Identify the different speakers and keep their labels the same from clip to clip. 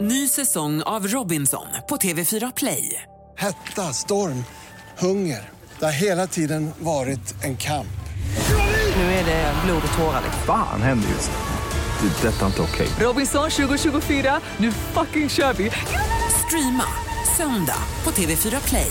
Speaker 1: Ny säsong av Robinson på TV4 Play.
Speaker 2: Hetta, storm, hunger. Det har hela tiden varit en kamp.
Speaker 1: Nu är det blod och tårar. liksom.
Speaker 3: Fan händer just nu. Det. är Detta är inte okej.
Speaker 1: Robinson 2024, nu fucking kör vi! Streama söndag på TV4 Play.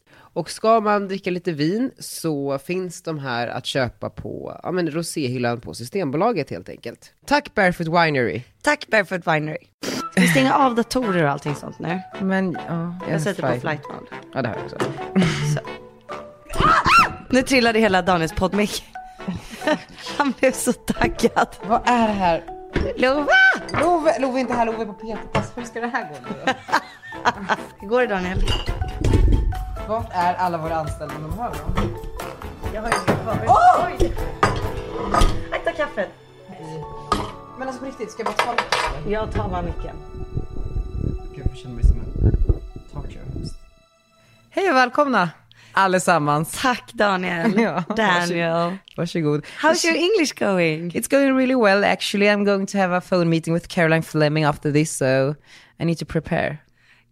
Speaker 4: Och ska man dricka lite vin så finns de här att köpa på ja, men roséhyllan på Systembolaget helt enkelt. Tack Barefoot Winery!
Speaker 5: Tack Barefoot Winery.
Speaker 6: Ska vi stänga av datorer och allting sånt nu?
Speaker 4: Men ja,
Speaker 6: Jag sätter på flight mode.
Speaker 4: Ja det har jag också.
Speaker 6: Nu trillade hela Daniels poddmick. Han blev så taggad.
Speaker 4: Vad är det här?
Speaker 6: Lova!
Speaker 4: Love, Love är inte här, Love är på PT-pass. Hur ska det här gå nu då?
Speaker 6: Hur går det Daniel?
Speaker 4: Vart är alla våra anställda de hör då?
Speaker 6: Akta kaffet.
Speaker 4: Men alltså på riktigt, ska jag bara ta lite?
Speaker 6: Jag tar bara micken.
Speaker 4: Gud, jag känner mig som en talkshow-host. Hej och välkomna allesammans.
Speaker 6: Tack Daniel.
Speaker 4: Ja,
Speaker 6: Daniel.
Speaker 4: Varsågod.
Speaker 6: How's your English going?
Speaker 4: It's going really well actually. I'm going to have a phone meeting with Caroline Fleming after this so I need to prepare.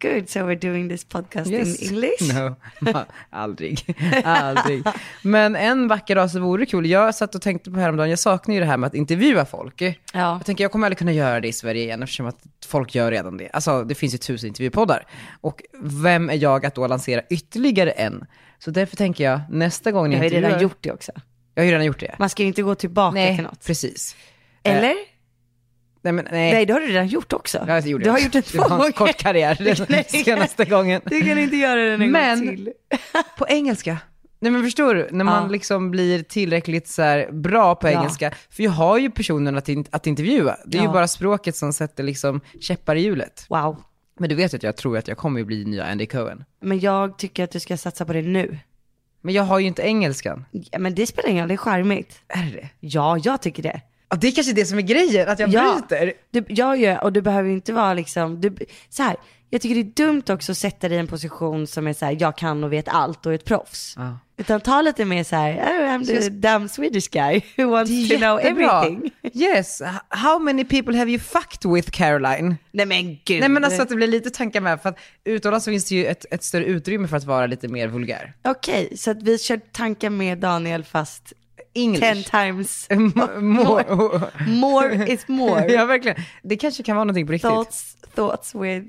Speaker 6: Good, so we're doing this podcast in English.
Speaker 4: No, aldrig. aldrig. Men en vacker dag så vore det kul. Jag satt och tänkte på häromdagen, jag saknar ju det här med att intervjua folk. Jag tänker jag kommer aldrig kunna göra det i Sverige igen eftersom att folk gör redan det. Alltså det finns ju tusen intervjupoddar. Och vem är jag att då lansera ytterligare en? Så därför tänker jag nästa gång ni
Speaker 6: Jag har ju
Speaker 4: intervjuar.
Speaker 6: redan gjort det också.
Speaker 4: Jag har ju redan gjort det.
Speaker 6: Man ska ju inte gå tillbaka till något.
Speaker 4: precis.
Speaker 6: Eller?
Speaker 4: Nej, men, nej.
Speaker 6: Nej, det har du redan gjort också.
Speaker 4: eh. Ja, det gjorde
Speaker 6: du har
Speaker 4: jag.
Speaker 6: gjort det
Speaker 4: Du
Speaker 6: två
Speaker 4: har
Speaker 6: gånger.
Speaker 4: en kort karriär. Senaste gången.
Speaker 6: Du kan inte göra den en
Speaker 4: Men-
Speaker 6: gång till.
Speaker 4: på engelska. Nej men förstår du, när man
Speaker 6: Ja.
Speaker 4: liksom blir tillräckligt så här bra på
Speaker 6: Ja.
Speaker 4: engelska, för jag har ju personen att, in, att intervjua. Det är ju
Speaker 6: Ja.
Speaker 4: bara språket som sätter liksom käppar i hjulet.
Speaker 6: Wow.
Speaker 4: Men du vet ju att jag tror att jag kommer ju bli nya Andy Cohen.
Speaker 6: Men jag tycker att du ska satsa på det nu.
Speaker 4: Men jag har ju inte engelskan.
Speaker 6: Ja, men det spelar ingen roll, det är charmigt.
Speaker 4: Är det det?
Speaker 6: Ja, jag tycker det.
Speaker 4: Ja, det är kanske det som är grejen, att jag
Speaker 6: Ja.
Speaker 4: bryter.
Speaker 6: Du, jag gör, och du behöver ju inte vara liksom, du, så här, jag tycker det är dumt också att sätta dig i en position som är så här, jag kan och vet allt och är ett proffs.
Speaker 4: Ja.
Speaker 6: Utan ta lite mer så här, oh, I'm the dumb Swedish guy who wants
Speaker 4: Det är
Speaker 6: to know
Speaker 4: jättebra.
Speaker 6: everything.
Speaker 4: Yes, H- how many people have you fucked with Caroline?
Speaker 6: Nej men gud.
Speaker 4: Nej men alltså att det blir lite tankar med, för att utomlands så finns det ju ett, ett större utrymme för att vara lite mer vulgär.
Speaker 6: Okej, så att vi kör tankar med Daniel fast ten
Speaker 4: English.
Speaker 6: times
Speaker 4: More.
Speaker 6: more is more.
Speaker 4: Ja, verkligen. Det kanske kan vara någonting på riktigt.
Speaker 6: Thoughts, thoughts with,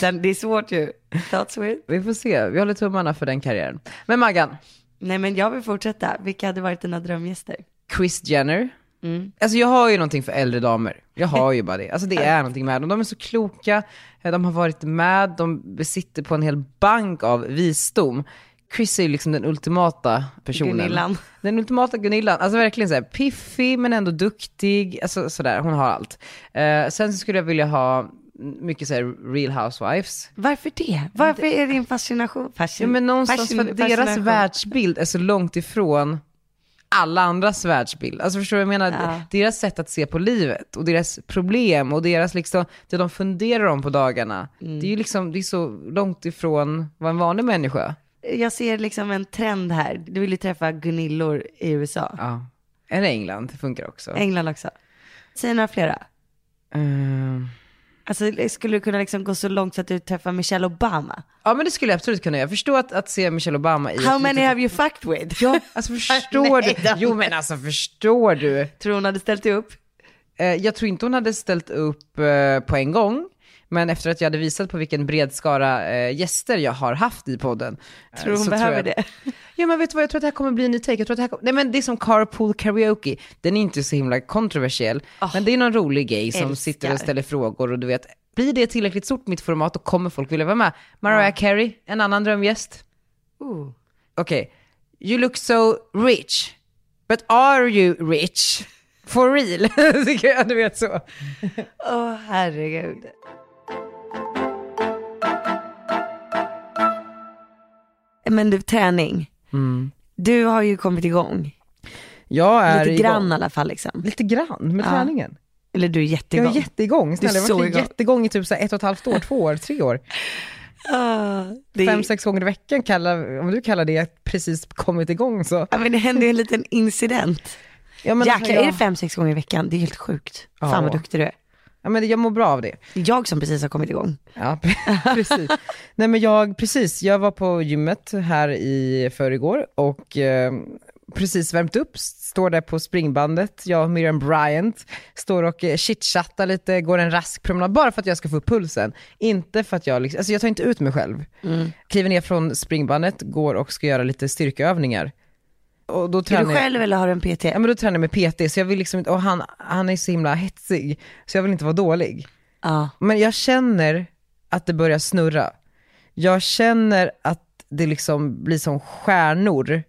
Speaker 6: den, det är svårt ju. Thoughts with.
Speaker 4: Vi får se. Vi håller tummarna för den karriären. Men Maggan,
Speaker 6: Nej men jag vill fortsätta. Vilka hade varit dina drömgäster?
Speaker 4: Chris Jenner.
Speaker 6: Mm.
Speaker 4: Alltså jag har ju någonting för äldre damer. Jag har ju bara det. Alltså det är någonting med dem. De är så kloka, Eh, de har varit med, de besitter på en hel bank av visdom. Chris är ju liksom den ultimata personen.
Speaker 6: Gunillan.
Speaker 4: Den ultimata Gunillan. Alltså verkligen så här, piffig men ändå duktig. Alltså sådär, hon har allt. Eh, sen så skulle jag vilja ha mycket så här real housewives.
Speaker 6: Varför det? Varför är din fascination? Fascin
Speaker 4: Ja, men någonstans
Speaker 6: fascin-
Speaker 4: för att deras
Speaker 6: fascination?
Speaker 4: världsbild är så långt ifrån alla andras världsbild. Alltså förstår du vad jag menar?
Speaker 6: Ja.
Speaker 4: Deras sätt att se på livet och deras problem och deras liksom, det de funderar om på dagarna.
Speaker 6: Mm.
Speaker 4: Det är ju liksom, det är så långt ifrån vad en vanlig människa.
Speaker 6: Jag ser liksom en trend här. Du vill ju träffa Gunillor i USA.
Speaker 4: Ja. Eller England, det funkar också.
Speaker 6: England också. Säg några flera.
Speaker 4: Ehm.
Speaker 6: Alltså skulle du kunna liksom gå så långt så att du träffar Michelle Obama?
Speaker 4: Ja men det skulle jag absolut kunna göra. Jag förstår att, att se Michelle Obama i
Speaker 6: How
Speaker 4: ett
Speaker 6: many
Speaker 4: litet-
Speaker 6: have you fucked with?
Speaker 4: Ja, alltså förstår
Speaker 6: Nej,
Speaker 4: du?
Speaker 6: de-
Speaker 4: Jo men alltså förstår du?
Speaker 6: Tror hon hade ställt upp?
Speaker 4: Eh, jag tror inte hon hade ställt upp eh, på en gång, men efter att jag hade visat på vilken bred skara eh, gäster jag har haft i podden. eh,
Speaker 6: Tror hon
Speaker 4: så
Speaker 6: behöver
Speaker 4: jag...
Speaker 6: det?
Speaker 4: Ja men vet du vad, jag tror att det här kommer bli en ny take. Jag tror att det, här kom... Nej, men det är som carpool karaoke, den är inte så himla kontroversiell, men det är någon rolig gay som
Speaker 6: Ah. älskar.
Speaker 4: sitter och ställer frågor och du vet, blir det tillräckligt stort mitt format och kommer folk vilja vara med? Mariah Carey, en annan drömgäst.
Speaker 6: Ah. Ooh.
Speaker 4: Okej, you look so rich, but are you rich? For real? du vet så.
Speaker 6: Åh herregud. men du träning. Du har ju kommit igång.
Speaker 4: Jag Mm. är
Speaker 6: Lite grann
Speaker 4: igång.
Speaker 6: i alla fall liksom.
Speaker 4: Lite grann med
Speaker 6: Ja.
Speaker 4: träningen.
Speaker 6: Eller du är
Speaker 4: Jag
Speaker 6: jätteigång.
Speaker 4: är jätteigång, snälla. Jag
Speaker 6: så
Speaker 4: har varit
Speaker 6: igång.
Speaker 4: jätteigång i typ så här ett och ett halvt år, två år, tre år.
Speaker 6: Ah, det,
Speaker 4: Fem, sex gånger i veckan, kallar, om du kallar det att precis kommit igång så.
Speaker 6: ja, men det hände ju en liten incident.
Speaker 4: Ja, men alltså,
Speaker 6: Jäklar,
Speaker 4: jag,
Speaker 6: är det fem, sex gånger i veckan? Det är helt sjukt.
Speaker 4: Ja.
Speaker 6: Fan vad duktig du är.
Speaker 4: ja, men jag mår bra av det.
Speaker 6: Det är Jag som precis har kommit igång.
Speaker 4: Ja, precis. Nej men jag, precis, jag var på gymmet här i förrgår och eh, precis värmt upp, står där på springbandet, jag och Miriam Bryant, står och eh, chitchattar lite, går en rask promenad, bara för att jag ska få upp pulsen. Inte för att jag, liksom, alltså jag tar inte ut mig själv. Kliver ner från springbandet, går och ska göra lite styrkeövningar. Och då
Speaker 6: Är
Speaker 4: tränar
Speaker 6: du
Speaker 4: jag-
Speaker 6: själv eller har du en PT?
Speaker 4: Ja men då tränar jag med PT, så jag vill liksom inte, och han, han är så himla hetsig, så jag vill inte vara dålig.
Speaker 6: Ja.
Speaker 4: Men jag känner att det börjar snurra. Jag känner att det liksom blir som stjärnor.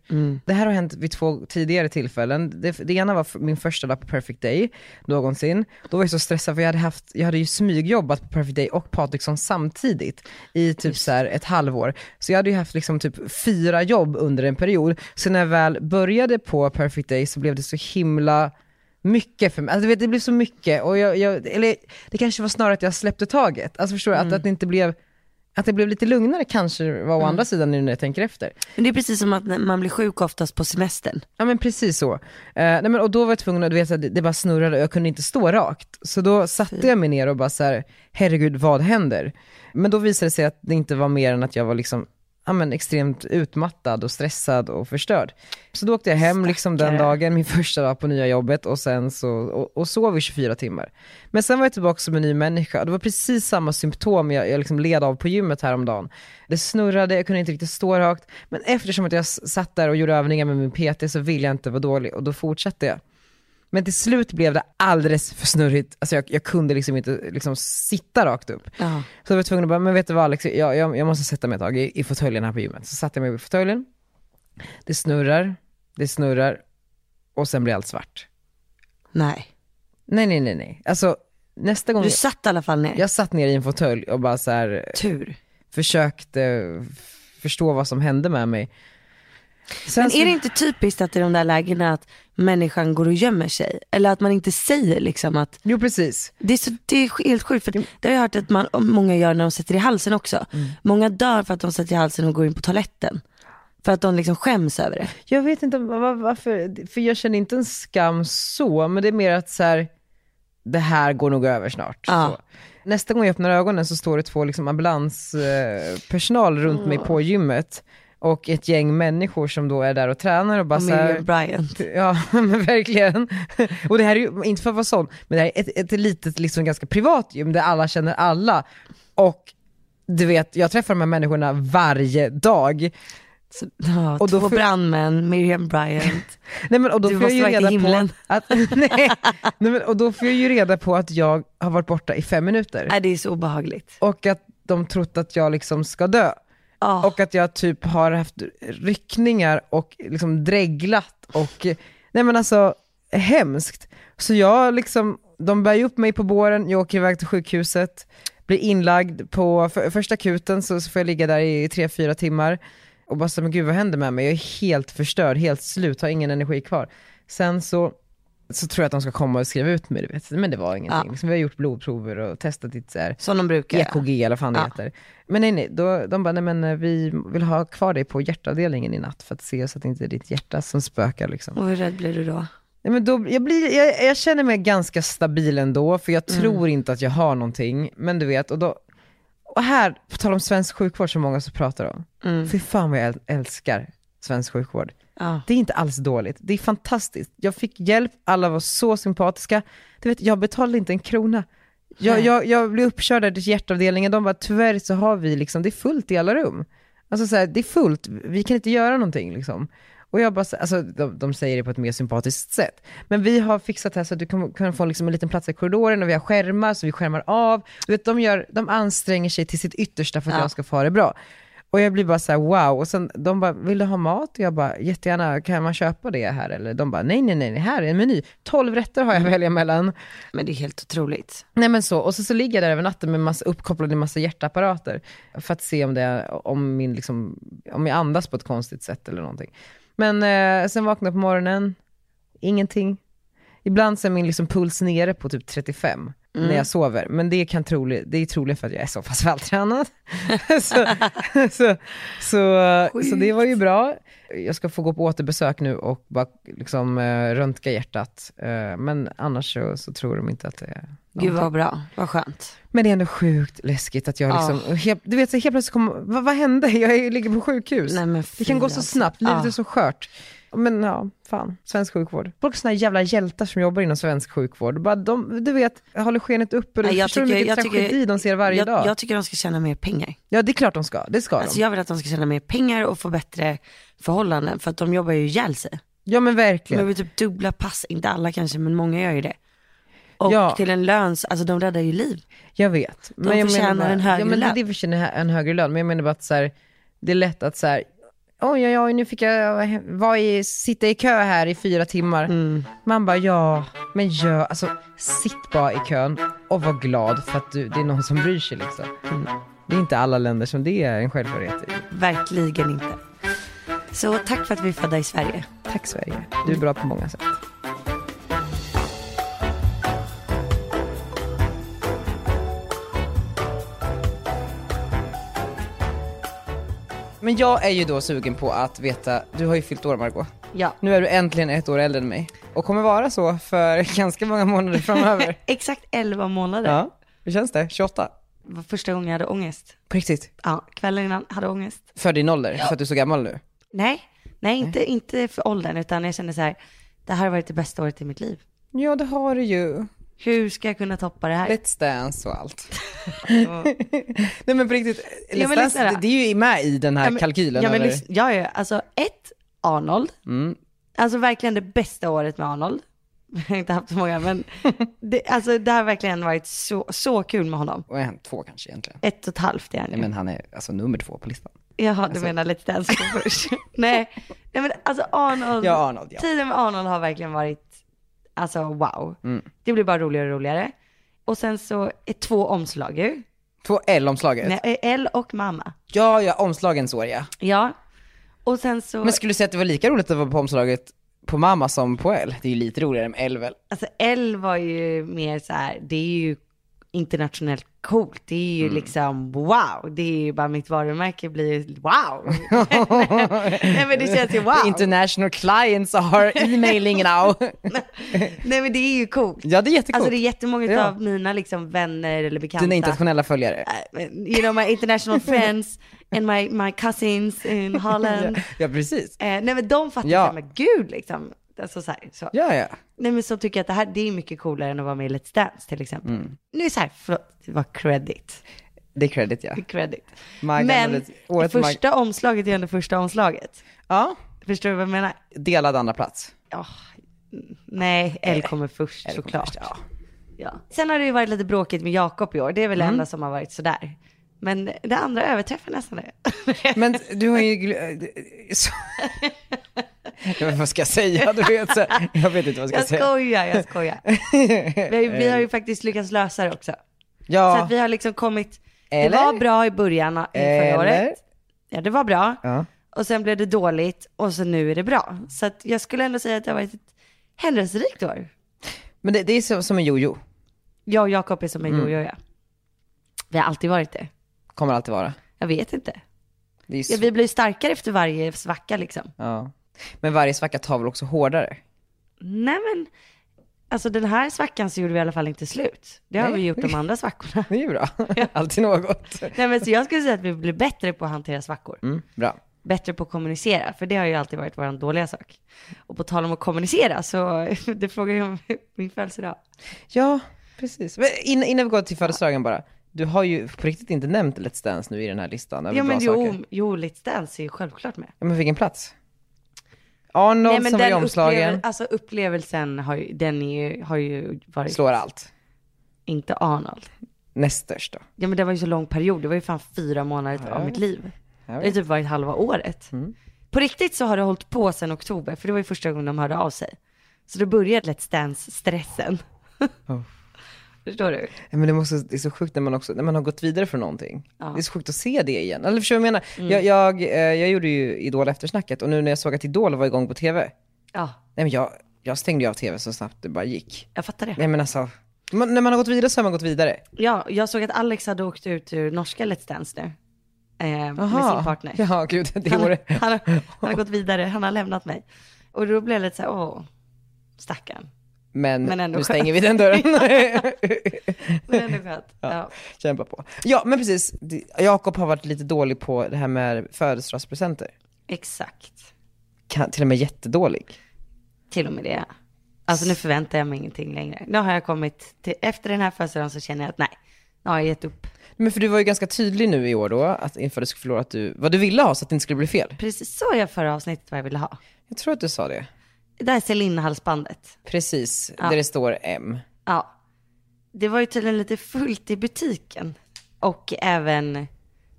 Speaker 4: Det här har hänt vid två tidigare tillfällen. Det, det ena var f- min första dag på Perfect Day någonsin. Då var jag så stressad för jag hade, haft, jag hade ju smygjobbat på Perfect Day och Patriksson samtidigt i typ så här ett halvår. Så jag hade ju haft liksom typ fyra jobb under en period. Så när jag väl började på Perfect Day så blev det så himla mycket för mig. Alltså, du vet, det blev så mycket. Och jag, jag, eller, det kanske var snarare att jag släppte taget. Alltså förstår du? Att, att det inte blev att det blev lite lugnare kanske var å andra sidan nu när jag tänker efter.
Speaker 6: Men det är precis som att när man blir sjuk oftast på semestern.
Speaker 4: Ja men precis så. Eh, nej, men, och då var jag tvungen att, du vet, så här, det, det bara snurrade och jag kunde inte stå rakt. Så då satte jag mig ner och bara så här, herregud vad händer? Men då visade det sig att det inte var mer än att jag var liksom, ja, men, extremt utmattad och stressad och förstörd. Så då åkte jag hem liksom, den dagen, min första dag på nya jobbet och sen så, och, och sov i 24 timmar. Men sen var jag tillbaka som en ny människa. Det var precis samma symptom jag, jag liksom led av på gymmet häromdagen. Det snurrade, jag kunde inte riktigt stå rakt. Men eftersom att jag s- satt där och gjorde övningar med min PT så ville jag inte vara dålig och då fortsatte jag. Men till slut blev det alldeles för snurrigt. Alltså jag, jag kunde liksom inte liksom sitta rakt upp.
Speaker 6: Ja.
Speaker 4: Så jag var tvungen att bara, men vet du vad Alex, jag, jag, jag måste sätta mig ett tag i, i fåtöljen här på gymmet. Så satte jag mig i fåtöljen, det snurrar, det snurrar och sen blir allt svart.
Speaker 6: Nej.
Speaker 4: Nej, nej, nej, nej. Alltså nästa gång
Speaker 6: Du satt i alla fall ner.
Speaker 4: jag satt ner i en fåtölj och bara så här, eh,
Speaker 6: Tur.
Speaker 4: försökte f- förstå vad som hände med mig. Sen
Speaker 6: Men
Speaker 4: så-
Speaker 6: är det inte typiskt att i de där lägena att människan går och gömmer sig? Eller att man inte säger liksom att
Speaker 4: Jo precis.
Speaker 6: Det är, så, det är helt sjukt, för
Speaker 4: Mm.
Speaker 6: det har jag hört att man, många gör när de sätter i halsen också. Många dör för att de sätter i halsen och går in på toaletten. För att de liksom skäms över det.
Speaker 4: Jag vet inte var- varför, för jag känner inte en skam så, men det är mer att så här, det här går nog över snart.
Speaker 6: Ja.
Speaker 4: Så. Nästa gång jag öppnar ögonen så står det två liksom ambulanspersonal runt mig på gymmet och ett gäng människor som då är där och tränar och bara så här,
Speaker 6: Miriam Bryant.
Speaker 4: Ja men verkligen. Och det här är ju, inte för att vara sån, men det här är ett, ett litet liksom ganska privat gym där alla känner alla. Och du vet, jag träffar de här människorna varje dag.
Speaker 6: Så, ja,
Speaker 4: Och då
Speaker 6: två
Speaker 4: får-
Speaker 6: brandmän, Miriam Bryant.
Speaker 4: Nej, men, och då
Speaker 6: Du
Speaker 4: får jag
Speaker 6: måste
Speaker 4: ju
Speaker 6: vara
Speaker 4: reda
Speaker 6: i himlen.
Speaker 4: på att, nej, nej, men, och då får jag ju reda på att jag har varit borta i fem minuter.
Speaker 6: Nej, det är så obehagligt.
Speaker 4: Och att de trott att jag liksom ska dö.
Speaker 6: Ja.
Speaker 4: Och att jag typ har haft ryckningar och liksom dreglat och, nej men alltså hemskt. Så jag liksom, de bär ju upp mig på båren, jag åker iväg till sjukhuset, blir inlagd på för, första akuten så, så får jag ligga där i tre fyra timmar och bara så, men gud vad händer med mig? Jag är helt förstörd, helt slut, har ingen energi kvar. Sen så så tror jag att de ska komma och skriva ut mig, du vet. men det var ingenting.
Speaker 6: Ja.
Speaker 4: Liksom, vi har gjort blodprover och testat lite så här,
Speaker 6: Som de brukar göra.
Speaker 4: EKG E eller vad fan det
Speaker 6: Ja.
Speaker 4: heter. Men nej, nej, då, de bara, nej men eh, vi vill ha kvar dig på hjärtavdelningen i natt för att se så att det inte är ditt hjärta som spökar liksom.
Speaker 6: Och hur rädd blir du då?
Speaker 4: Nej, men då, jag, blir, jag, jag känner mig ganska stabil ändå, för
Speaker 6: Mm.
Speaker 4: jag tror inte att jag har någonting. Men du vet, och, då, och här, på tal om svensk sjukvård som många så pratar om.
Speaker 6: Mm.
Speaker 4: Fy fan vad jag äl- älskar svensk sjukvård.
Speaker 6: Ja.
Speaker 4: Det är inte alls dåligt, det är fantastiskt. Jag fick hjälp, alla var så sympatiska. Du vet, jag betalade inte en krona. Jag,
Speaker 6: Nej.
Speaker 4: jag, jag blev uppkörd där till hjärtavdelningen, de bara tyvärr så har vi liksom, det är fullt i alla rum. Alltså så här, det är fullt, vi kan inte göra någonting liksom. Och jag bara, så- alltså de, de säger det på ett mer sympatiskt sätt. Men vi har fixat här så att du kan, kan få liksom en liten plats i korridoren och vi har skärmar så vi skärmar av. Du vet, de, gör, de anstränger sig till sitt yttersta för att
Speaker 6: Ja.
Speaker 4: jag ska få ha det bra. Och jag blir bara så här: wow. Och sen de bara, vill du ha mat? Och jag bara, jättegärna, kan man köpa det här? Eller de bara, nej nej nej, nej, här är en meny. 12 rätter har jag att välja mellan.
Speaker 6: Men det är helt otroligt.
Speaker 4: Nej men så, och så, så ligger jag där över natten med massa, uppkopplad i massa hjärtapparater. För att se om, det, om, min, liksom, om jag andas på ett konstigt sätt eller någonting. Men eh, sen vaknade jag på morgonen, ingenting. Ibland så är min liksom puls nere på typ 35 när jag sover. Men det, kan trolig, det är troligen för att jag är så pass vältränad. så, så, så, så det var ju bra. Jag ska få gå på återbesök nu och bara liksom, eh, röntga hjärtat. Eh, men annars så, så tror de inte att det är
Speaker 6: Gud vad bra, vad skönt.
Speaker 4: men det är ändå sjukt läskigt att jag liksom, helt, du vet så helt plötsligt kommer, vad, vad hände? Jag är, ju- ligger på sjukhus.
Speaker 6: Nej, men
Speaker 4: det kan
Speaker 6: fy
Speaker 4: gå så
Speaker 6: alltså.
Speaker 4: snabbt, livet
Speaker 6: Ja.
Speaker 4: är så skört. Men ja, fan, svensk sjukvård. Folk är såna här jävla hjältar som jobbar inom svensk sjukvård. Bara de, du vet, håller skenet uppe. Du
Speaker 6: Nej, jag
Speaker 4: förstår hur
Speaker 6: tycker-
Speaker 4: mycket
Speaker 6: jag tycker-
Speaker 4: tragedi de ser varje
Speaker 6: Jag,
Speaker 4: dag.
Speaker 6: jag tycker de ska tjäna mer pengar.
Speaker 4: ja, det är klart de ska. Det ska
Speaker 6: Alltså
Speaker 4: de.
Speaker 6: jag vill att de ska tjäna mer pengar och få bättre förhållanden för att de jobbar ju ihjäl sig.
Speaker 4: Ja, men
Speaker 6: De
Speaker 4: verkligen.
Speaker 6: jobbar ju typ dubbla pass, inte alla kanske men många gör ju det. Och
Speaker 4: Ja.
Speaker 6: till en lön, alltså de räddar ju liv.
Speaker 4: Jag vet. De jag
Speaker 6: förtjänar
Speaker 4: bara-
Speaker 6: en högre
Speaker 4: ja, men det-
Speaker 6: lön.
Speaker 4: Det förtjänar hö- en högre lön, men jag menar bara att så här, det är lätt att så här, oj, oj, oj, nu fick jag vara i, sitta i kö här i fyra timmar.
Speaker 6: Mm.
Speaker 4: Man bara, ja, men gör, alltså sitt bara i kön och var glad för att du, det är någon som bryr sig liksom.
Speaker 6: Mm.
Speaker 4: Det är inte alla länder som det är en självklarhet i.
Speaker 6: Verkligen inte. Så tack för att vi är födda i Sverige.
Speaker 4: Tack Sverige, du är bra på många sätt. Men jag är ju då sugen på att veta, du har ju fyllt år Margot.
Speaker 6: Ja.
Speaker 4: Nu är du äntligen ett år äldre än mig och kommer vara så för ganska många månader framöver.
Speaker 6: Exakt 11 månader.
Speaker 4: ja, hur känns det? 28?
Speaker 6: var första gången jag hade ångest.
Speaker 4: På riktigt?
Speaker 6: Ja, kvällen innan hade jag ångest.
Speaker 4: För din ålder, för att du är så gammal nu?
Speaker 6: Nej, nej inte, inte för åldern utan jag kände så här, det här har varit det bästa året i mitt liv.
Speaker 4: Ja det har du ju.
Speaker 6: Hur ska jag kunna toppa det här?
Speaker 4: Let's Dance och allt. Nej men på riktigt, Let's
Speaker 6: men
Speaker 4: Dance,
Speaker 6: lyssna då.
Speaker 4: det, det är ju med i den här
Speaker 6: men-
Speaker 4: kalkylen. Mm.
Speaker 6: ja, men,
Speaker 4: över-
Speaker 6: lyssna- ja, ja, alltså ett, Arnold. Alltså verkligen det bästa året med Arnold. Jag har inte haft så många, men det, alltså, det har verkligen varit så, så kul med honom.
Speaker 4: Och en, två kanske egentligen.
Speaker 6: Ett och ett halvt är han ju.
Speaker 4: Nej men alltså- han är alltså nummer två på listan.
Speaker 6: Jaha, du menar Let's Dance på först. nej, nej, men alltså Arnold.
Speaker 4: Ja, Arnold, ja.
Speaker 6: Tiden med Arnold har verkligen varit, alltså wow.
Speaker 4: Mm.
Speaker 6: Det blir bara roligare och roligare. Och sen så är två omslag ju.
Speaker 4: Två L-omslaget.
Speaker 6: Nej, L och mamma.
Speaker 4: Ja, ja, omslagen såg jag.
Speaker 6: Ja. Och sen så,
Speaker 4: Men skulle du säga att det var lika roligt att vara på omslaget på mamma som på L? Det är ju lite roligare med L väl?
Speaker 6: alltså L var ju mer så här, det är ju internationellt coolt. Det är ju
Speaker 4: Mm.
Speaker 6: liksom wow. Det är ju bara mitt varumärke blir ju wow. Nej men det känns ju wow.
Speaker 4: International clients are emailing now.
Speaker 6: Nej men det är ju coolt.
Speaker 4: ja, det är jättekul.
Speaker 6: Alltså det är jättemånga
Speaker 4: Ja.
Speaker 6: av mina liksom vänner eller bekanta. Äh,
Speaker 4: Dina internationella följare.
Speaker 6: you know my international friends and my, my cousins in Holland.
Speaker 4: Ja, ja, precis.
Speaker 6: Eh, nej men de fattar
Speaker 4: Ja.
Speaker 6: ja. men gud liksom. Alltså, så här, så.
Speaker 4: Ja, ja.
Speaker 6: Nej men så tycker jag att det här, det är mycket coolare än att vara med i Let's Dance till exempel. Nu är så här, förlåt, det var credit.
Speaker 4: Det är credit ja.
Speaker 6: credit.
Speaker 4: My
Speaker 6: men
Speaker 4: gamla- året Mag-
Speaker 6: första omslaget är ändå första omslaget.
Speaker 4: Ja,
Speaker 6: Förstår du vad jag menar?
Speaker 4: delad andra plats.
Speaker 6: Ja, nej, L kommer först
Speaker 4: Eller
Speaker 6: såklart.
Speaker 4: först, ja.
Speaker 6: Ja. Sen har det ju varit lite bråkigt med Jakob i år. Det är väl det enda som har varit sådär. Men det andra överträffar nästan det.
Speaker 4: Men du har ju... gl- Så... Jag vet, vad ska jag säga? Du vet, så... Jag vet inte vad jag
Speaker 6: jag
Speaker 4: ska säga.
Speaker 6: skojar, jag skojar. vi, har ju, vi har ju faktiskt lyckats lösa det också. Så
Speaker 4: Ja,
Speaker 6: att vi har liksom kommit,
Speaker 4: Eller?
Speaker 6: det var bra i början av förra
Speaker 4: Eller?
Speaker 6: året. Ja det var bra.
Speaker 4: Ja.
Speaker 6: Och sen blev det dåligt och så nu är det bra. Så att jag skulle ändå säga att det har varit ett händelserikt år.
Speaker 4: men det, det är som, som en jojo.
Speaker 6: Jag och Jakob är som en
Speaker 4: Mm.
Speaker 6: jojo ja. Vi har alltid varit det.
Speaker 4: Kommer alltid vara.
Speaker 6: Jag vet inte.
Speaker 4: Det är ju
Speaker 6: Ja,
Speaker 4: så...
Speaker 6: vi blir starkare efter varje svacka liksom.
Speaker 4: ja. Men varje svacka tar väl också hårdare?
Speaker 6: Nej men, alltså den här svackan så gjorde vi i alla fall inte slut. Det har
Speaker 4: Nej.
Speaker 6: vi gjort de andra svackorna.
Speaker 4: Det är ju bra. Alltid något.
Speaker 6: Nej men så jag skulle säga att vi blir bättre på att hantera svackor.
Speaker 4: Mm, bra.
Speaker 6: Bättre på att kommunicera, för det har ju alltid varit vår dåliga sak. Och på tal om att kommunicera så, det frågar jag om min födelsedag.
Speaker 4: Ja, precis. Men in, innan vi går till födelsedagen bara. Du har ju på riktigt inte nämnt Let's Dance nu i den här listan över
Speaker 6: Ja
Speaker 4: bra
Speaker 6: men
Speaker 4: saker.
Speaker 6: jo, jo Let's Dance är ju självklart med.
Speaker 4: Ja, men vilken plats? Arnold som var i
Speaker 6: upplevel,
Speaker 4: omslagen,
Speaker 6: alltså upplevelsen har ju, den är ju, har ju varit,
Speaker 4: slår allt.
Speaker 6: inte Arnold.
Speaker 4: Näst störst då.
Speaker 6: Ja men det var ju så lång period, det var ju fan fyra månader av mitt liv. Det har typ varit halva året.
Speaker 4: Mm.
Speaker 6: På riktigt så har det hållit på sedan oktober, för det var ju första gången de hörde av sig. Så då började Let's Dance-stressen.
Speaker 4: Oh.
Speaker 6: Förstår du?
Speaker 4: Nej, Men det, måste, det är så sjukt när man, också, när man har gått vidare från någonting.
Speaker 6: Ja. Mm.
Speaker 4: Det är så sjukt att se det igen. Eller förstår du vad jag menar? Jag, jag, eh, jag gjorde ju Idol eftersnacket och nu när jag såg att Idol var igång på tv, nej
Speaker 6: Ja,
Speaker 4: men jag, jag stängde ju av tv så snabbt det bara gick.
Speaker 6: jag fattar det.
Speaker 4: Nej men alltså, man, när man har gått vidare så har man gått vidare.
Speaker 6: Ja, jag såg att Alex hade åkt ut ur norska Let's Dance nu. Eh, med sin partner.
Speaker 4: Ja, gud, det
Speaker 6: Han,
Speaker 4: vore...
Speaker 6: har- han, har- han har gått vidare, han har lämnat mig. Och då blev jag lite så här, åh, stackarn.
Speaker 4: Men,
Speaker 6: Men ändå
Speaker 4: nu
Speaker 6: skönt.
Speaker 4: stänger vi den dörren.
Speaker 6: Men ändå skönt. Ja.
Speaker 4: Kämpa på. Ja, men precis. Det- Jakob har varit lite dålig på det här med födelsedagspresenter.
Speaker 6: Exakt.
Speaker 4: Kan- Till och med jättedålig.
Speaker 6: Till och med det. Alltså nu förväntar jag mig ingenting längre. Nu har jag kommit till, efter den här födelsedagen så känner jag att nej, nu har jag gett upp.
Speaker 4: Men för du var ju ganska tydlig nu i år då, att inför du skulle förlora, att du, vad du ville ha så att det inte skulle bli fel.
Speaker 6: Precis så jag förra avsnittet vad jag ville ha.
Speaker 4: Jag tror att du sa det.
Speaker 6: Det där är Celine-halsbandet.
Speaker 4: Precis, där det står M.
Speaker 6: Ja. Det var ju tydligen lite fullt i butiken. Och även